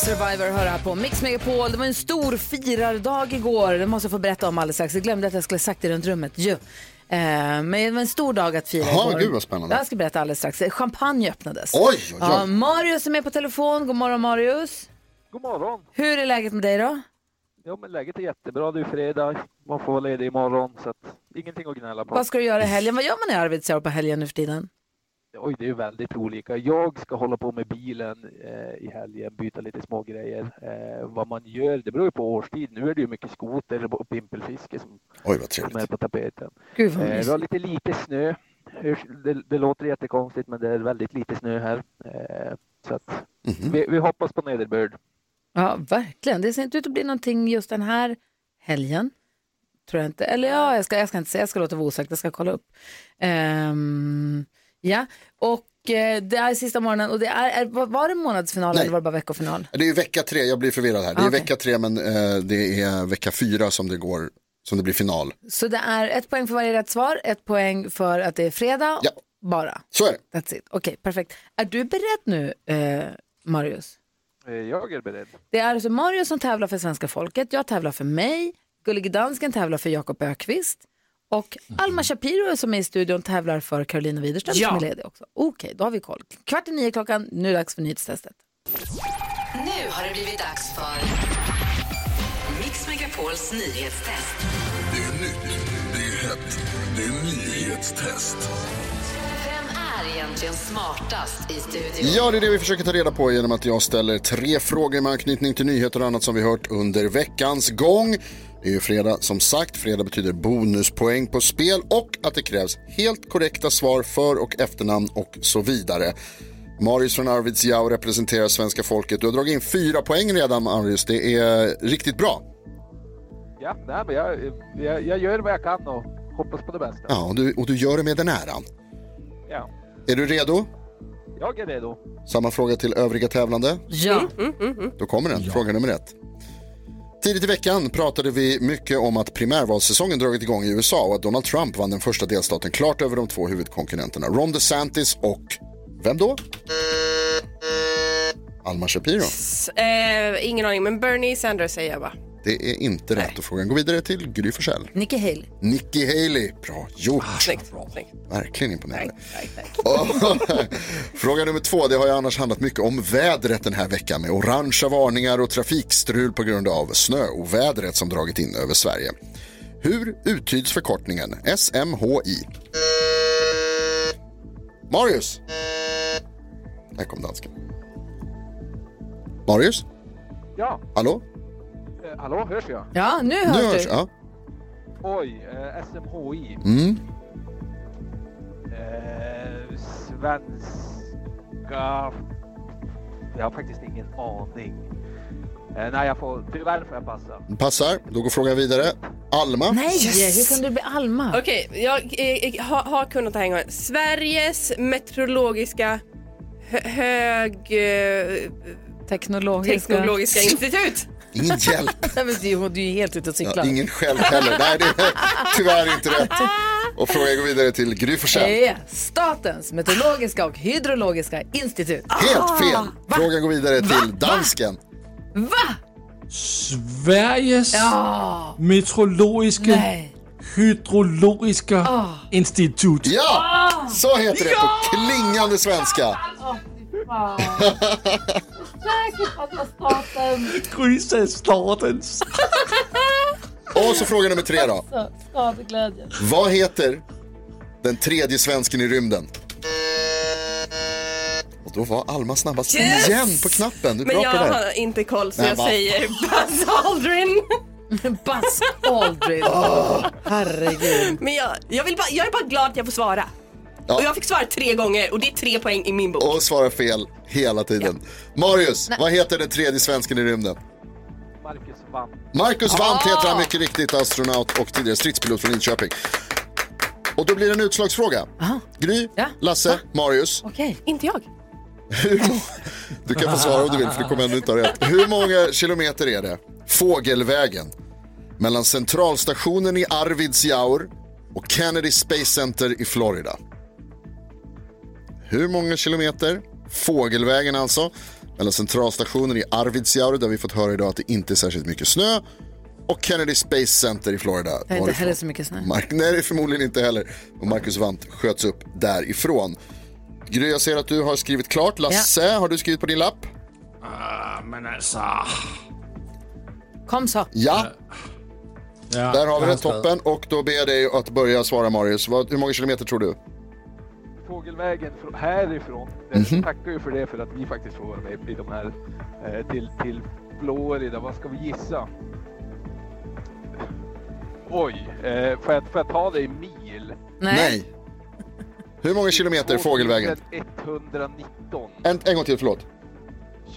Survivor hör här på Mix Megapol. Det var en stor firardag igår. Det måste jag få berätta om alldeles strax. Jag glömde att jag skulle ha sagt det runt rummet. Jo. Eh, men det var en stor dag att fira Jaha, igår. gud, vad spännande. Jag ska berätta alldeles strax. Champagne öppnades. Oj, oj, oj. Ja, Marius är med på telefon. God morgon Marius. God morgon! Hur är läget med dig då? Jo men läget är jättebra, det är ju fredag, man får vara ledig imorgon så att ingenting att gnälla på. Vad ska du göra i helgen? Vad gör man i Arvidsjaur på helgen nu för tiden? Oj, det är ju väldigt olika. Jag ska hålla på med bilen eh, i helgen, byta lite små grejer. Eh, vad man gör, det beror ju på årstid. Nu är det ju mycket skoter och pimpelfiske som, som är på tapeten. Gud, vad eh, vi mysigt. har lite lite snö. Hur- Det, det låter jättekonstigt men det är väldigt lite snö här. Eh, så att Mhm. vi, vi hoppas på nederbörd. Ja, verkligen. Det ser inte ut att bli någonting just den här helgen. Tror jag inte. Eller ja, jag ska, jag ska inte säga, jag ska låta det vara osagt, jag ska kolla upp. Ehm, ja, och eh, det är sista morgonen och det är, är var- var det månadsfinal eller var det bara veckofinal? Det är vecka tre, jag blir förvirrad här. Det är Okej. vecka tre men eh, det är vecka fyra som det, går, som det blir final. Så det är ett poäng för varje rätt svar, ett poäng för att det är fredag Ja. bara. Så är det. That's it. Okej, perfekt. Är du beredd nu, eh, Marius? Eh, jag är beredd. Det är alltså Mario som tävlar för svenska folket, jag tävlar för mig, Gullige Dansken tävlar för Jakob Ökvist och Alma Shapiro som är i studion tävlar för Carolina Widerström Ja. som är ledig också. Okej, då har vi koll. Kvart i nio klockan, nu är det dags för nyhetstestet. Nu har det blivit dags för Mix Megapols nyhetstest. Det är nytt, det är hett, det är nyhetstest. Vem är egentligen smartast i studion? Ja, det är det vi försöker ta reda på genom att jag ställer tre frågor med anknytning till nyheter och annat som vi hört under veckans gång. Det är ju fredag som sagt, fredag betyder bonuspoäng på spel och att det krävs helt korrekta svar för och efternamn och så vidare. Marius från Arvidsjaur representerar svenska folket. Du har dragit in fyra poäng redan Marius, det är riktigt bra. Ja, nej, men jag, jag, jag gör vad jag kan och hoppas på det bästa. Ja, och du, och du gör det med den äran. Ja, Är du redo? jag är redo. Samma fråga till övriga tävlande. Ja. Då kommer den, fråga nummer ett. Tidigt i veckan pratade vi mycket om att primärvalssäsongen dragit igång i USA och att Donald Trump vann den första delstaten klart över de två huvudkonkurrenterna Ron DeSantis och vem då? Alma Shapiro. Eh, ingen aning, men Bernie Sanders säger jag bara. Det är inte rätt och frågan går vidare till Gry Forssell. Nicky Haley. Nikki Haley, bra gjort. Snyggt, snyggt. Verkligen imponerande. Fråga nummer två, det har ju annars handlat mycket om vädret den här veckan med orangea varningar och trafikstrul på grund av snöovädret som dragit in över Sverige. Hur uttyds förkortningen SMHI? Marius? Där kom dansken. Marius? Ja, Hallå? eh, hallå, hörs jag? Ja, nu hörs du. hörs, ja. Oj, eh, SMHI. Mm. Eh, svenska... Jag har faktiskt ingen aning. Eh, nej, jag får... Tyvärr får jag passa. Passar, då går frågan vidare. Alma? hur kan du bli Alma? Okej, jag, eh, eh, har, har kunnat det här en gång. Sveriges meteorologiska hö, hög... eh, Teknologiska... Teknologiska institut. Ingen hjälp. Nej, men det är ju- du är ju helt ute och cyklar. Ja, ingen själv heller. Nej, det är tyvärr inte rätt. Och frågan går vidare till Gry Forssell. Eh, Statens meteorologiska och hydrologiska institut. Ah. Helt fel. Frågan går vidare till dansken. Va? Sveriges Ja. meteorologiska hydrologiska institut. Ja, så heter det på klingande svenska. Säkert att det var staten. Gryset statens. Och så fråga nummer tre då. Alltså, Så, skadeglädje. Vad heter den tredje svensken i rymden? Och då var Alma snabbast Yes! igen på knappen. Du är Men bra jag på det där. har inte koll så Nej, jag va? säger Buzz Aldrin. Buzz Aldrin. Herregud. Men jag, jag, vill bara, jag är bara glad att jag får svara. Ja. Och jag fick svara tre gånger och det är tre poäng i min bok. Och svarar fel hela tiden. Marius, Nej. vad heter den tredje svensken i rymden? Marcus vann. Marcus Vamp Ah! heter han mycket riktigt, astronaut och tidigare stridspilot från Linköping. Och då blir det en utslagsfråga. Gry, Lasse, Marius. Okej. Inte jag. Hur må- du kan få svara om du vill för du kommer ändå inte ha rätt. Hur många kilometer är det, fågelvägen, mellan centralstationen i Arvidsjaur och Kennedy Space Center i Florida? Hur många kilometer, fågelvägen alltså, mellan centralstationen i Arvidsjaur där vi fått höra idag att det inte är särskilt mycket snö och Kennedy Space Center i Florida. Det är inte varifrån heller så mycket snö. Mark, nej, det är förmodligen inte heller. Och Marcus Wandt sköts upp därifrån. Gry, jag ser att du har skrivit klart. Lasse, har du skrivit på din lapp? Ah, men alltså. Kom så. Ja. Där har vi jag det, har skrivit. toppen. Och då ber jag dig att börja svara, Marius. Vad, hur många kilometer tror du? Fågelvägen från, härifrån. Mhm. Jag tackar ju för det för att vi faktiskt får vara med i de här eh, till, till Florida. Vad ska vi gissa? Oj, eh, får, jag, får jag ta det i mil? Nej. Hur många kilometer fågelvägen? 119. En, en gång till, förlåt.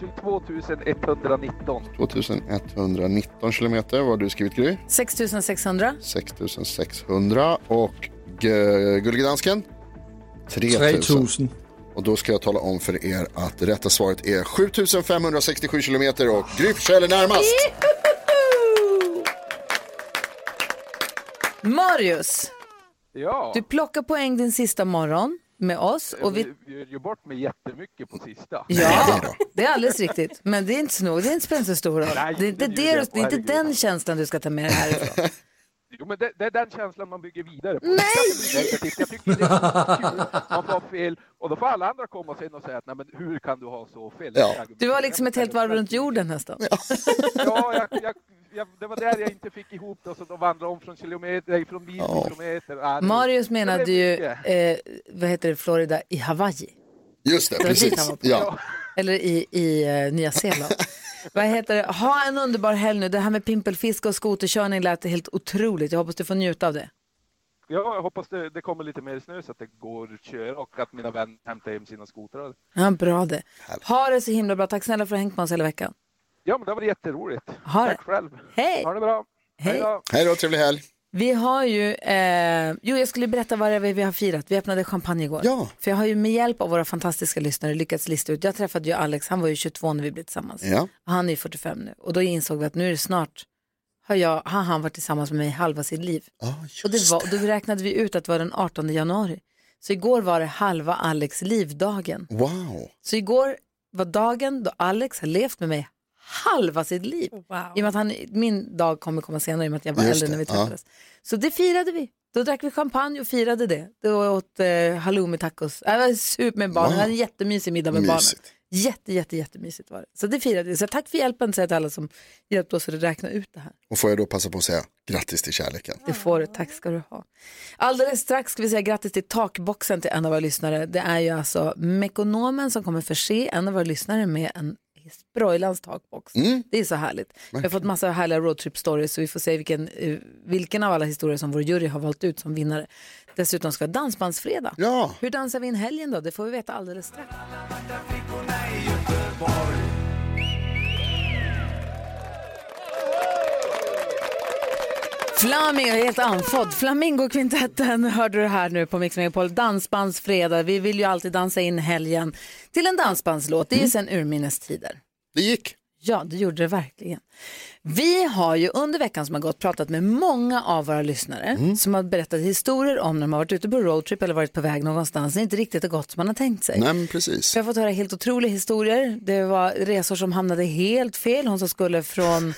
22 119. 2119 kilometer. Vad har du skrivit, Gry? 6600. 6600. Och eh, Gullige Dansken? 3000. Och då ska jag tala om för er att det rätta svaret är 7567 kilometer och Gry Forssell är närmast. Marius, Ja, eh, du plockar poäng din sista morgon med oss. Typ- Och vi... vi gör ju bort mig jättemycket på sista. Ja, det är alldeles riktigt. Men det är inte så nog. Det är inte spelar inte så stor roll. Nej, Det är inte, det det, bjuder jag du- på, det är inte herregud. den känslan du ska ta med dig härifrån. Jo, men det, det är den känslan man bygger vidare på. Nej! Jag tycker det är så kul. Man får fel och då får alla andra komma sen och säga att nej, men hur kan du ha så fel? Jag, Du var liksom ett helt varv runt jorden nästan. ja, jag, jag, jag, det var där jag inte fick ihop det och så då vandrade om från kilometer, nej, från mil till kilometer. Ah, det- Marius det blev menade ju, mycket. eh, vad heter det, Florida i Hawaii. Just det, Det var dit han precis. var på. Ja. Eller i, i eh, Nya Zeeland. vad heter det? Ha en underbar helg nu. Det här med pimpelfiske och skoterkörning lät helt otroligt. Jag hoppas du får njuta av det. Ja, jag hoppas det, det kommer lite mer snö så att det går att köra och att mina vänner hämtar hem sina skotrar. Ja, bra det. Ha det så himla bra. Tack snälla för att du har hängt med oss hela veckan. Ja, men det var jätteroligt. Ha Tack själv. Hej! Ha det bra. Hej. då. Hej då, trevlig helg. Vi har ju, eh, jo jag skulle berätta vad det är vi har firat. Vi öppnade champagne igår. Ja. För jag har ju med hjälp av våra fantastiska lyssnare lyckats lista ut, jag träffade ju Alex, han var ju 22 när vi blev tillsammans. Ja. Och han är ju 45 nu. Och då insåg vi att nu är det snart, har, jag, har han varit tillsammans med mig halva sitt liv. och det var, då räknade vi ut att det var den 18 januari. Så igår var det halva Alex livdagen. Wow. Så igår var dagen då Alex har levt med mig halva sitt liv. I och med att han, min dag kommer komma senare i och med att jag var Just äldre det, när vi ja. träffades. Så det firade vi. Då drack vi champagne och firade det. Då åt eh, halloumi-tacos. Det var super med barnen. Wow. Det var en jättemysig middag med Mysigt. barnen. Jätte, jätte, jättemysigt var det. Så det firade vi. Så tack för hjälpen säger jag till alla som hjälpte oss att räkna ut det här. Och får jag då passa på att säga grattis till kärleken. Det får du, tack ska du ha. Alldeles strax ska vi säga grattis till takboxen till en av våra lyssnare. Det är ju alltså Mekonomen som kommer förse en av våra lyssnare med en Broilans takbox. Det är så härligt. Vi har fått massa härliga roadtrip stories så vi får se vilken, eh, vilken av alla historier som vår jury har valt ut som vinnare. Dessutom ska vi ha dansbandsfredag. Ja. Hur dansar vi in helgen då? Det får vi veta alldeles strax. Flamingo, jag är helt andfådd. Flamingokvintetten hörde du här nu på Mix Megapol. Dansbandsfredag. Vi vill ju alltid dansa in helgen till en dansbandslåt. Det är ju sedan urminnes tider. Det gick. Ja, det gjorde det verkligen. Vi har ju under veckan som har gått pratat med många av våra lyssnare Mm. som har berättat historier om när de har varit ute på roadtrip eller varit på väg någonstans. Det är inte riktigt har gått som man har tänkt sig. Nej, men precis. Jag har fått höra helt otroliga historier. Det var resor som hamnade helt fel. Hon som skulle från,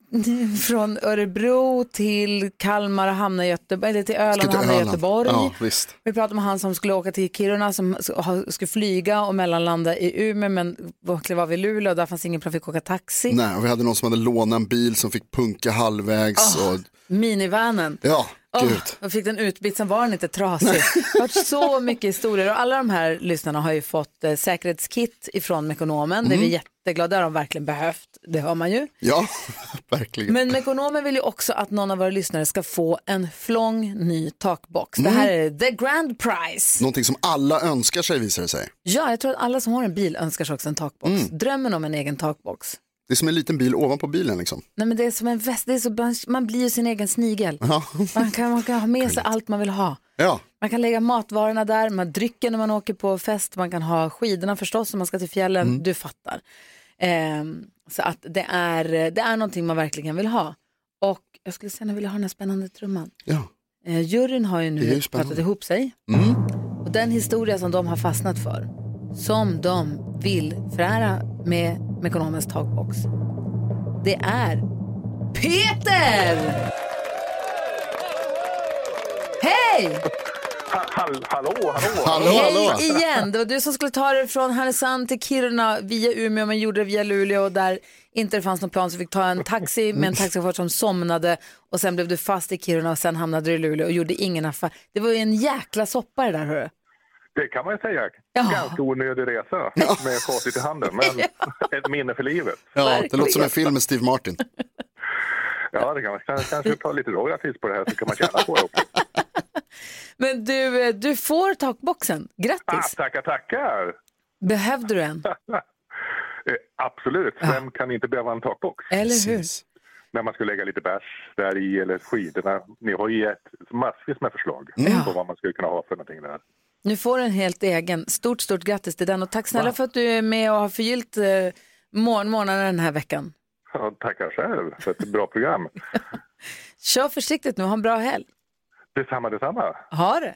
från Örebro till Kalmar och hamna i Göteborg, eller till Öland och Ska till hamna i Öland. Göteborg. Ja, visst. Vi pratade om han som skulle åka till Kiruna som s- ha- skulle flyga och mellanlanda i Umeå men var- klev av i Luleå och där fanns ingen plan, fick åka taxi. Nej, och vi hade någon som hade lånat en bil som fick punka halvvägs. Ah. Och... Minivanen. Ja, Åh, gud. jag fick den utbytt, sen var den inte trasig. Det har varit så mycket historier och alla de här lyssnarna har ju fått eh, säkerhetskit ifrån Mekonomen. Det är vi Mm. jätteglada, det har de verkligen behövt, det hör man ju. Ja, verkligen. Men Mekonomen vill ju också att någon av våra lyssnare ska få en flång ny takbox. Det Mm. här är the grand prize. Någonting som alla önskar sig visar det sig. Ja, jag tror att alla som har en bil önskar sig också en takbox. Mm. Drömmen om en egen takbox. Det är som en liten bil ovanpå bilen liksom. Nej, men det är som en väst, det är så, man- man blir ju sin egen snigel. Ja. Man kan, man kan ha med sig allt man vill ha. Ja, Man kan lägga matvarorna där, man dricker när man åker på fest, man kan ha skidorna förstås om man ska till fjällen, Mm. du fattar. Ehm, så att det är, det är någonting man verkligen vill ha. Och jag skulle säga, jag vill ha den här spännande trumman. Ja. Eh, juryn har ju Det är nu ju spännande. Mm. pratat ihop sig. Mm. Och den historia som de har fastnat för, som de vill förära med Mekonomens takbox, det är Peter! Hej! Hall, hallå, hallå! Hej igen! Det var du som skulle ta dig från Härnösand till Kiruna via Umeå men gjorde det via Luleå och där inte det fanns någon plan så fick ta en taxi med en taxichaufför som somnade och sen blev du fast i Kiruna och sen hamnade du i Luleå och gjorde ingen affär. Det var ju en jäkla soppa det där hörru. Det kan man ju säga. Ja. Ganska onödig resa med facit i handen, men ett minne för livet. ja det låter som en film med Steve Martin. Ja, det kan man kan- kanske ta lite royalties på det här så kan man tjäna på det också. Men du, eh, du får takboxen, Ah, grattis! tackar, tackar! Behövde du en? Eh, absolut, vem kan inte behöva en takbox? Eller hur? När man ska lägga lite bärs där i eller skidorna. Ni har ju gett massvis med förslag på vad man skulle kunna ha för någonting där. Nu får du en helt egen. Stort, stort grattis till den och tack snälla för att du är med och har förgyllt eh, morgon- morgnarna den här veckan. Ja, tackar själv för ett bra program. Kör försiktigt nu, ha en bra helg. Detsamma, detsamma. Ha det!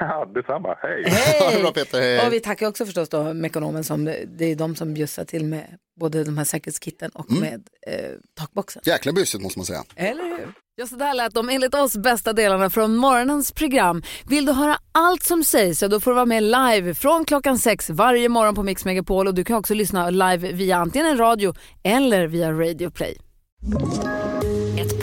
Ja, detsamma. Hej! Hej! Och vi tackar också förstås då Mekonomen som det är de som bjussar till med både de här säkerhetskitten och med eh, takboxen. Jäkla busigt måste man säga. Eller hur? Ja, så där lät de enligt oss bästa delarna från morgonens program. Vill du höra allt som sägs så då får du vara med live från klockan sex varje morgon på Mix Megapol och du kan också lyssna live via antingen radio eller via Radio Play. Ett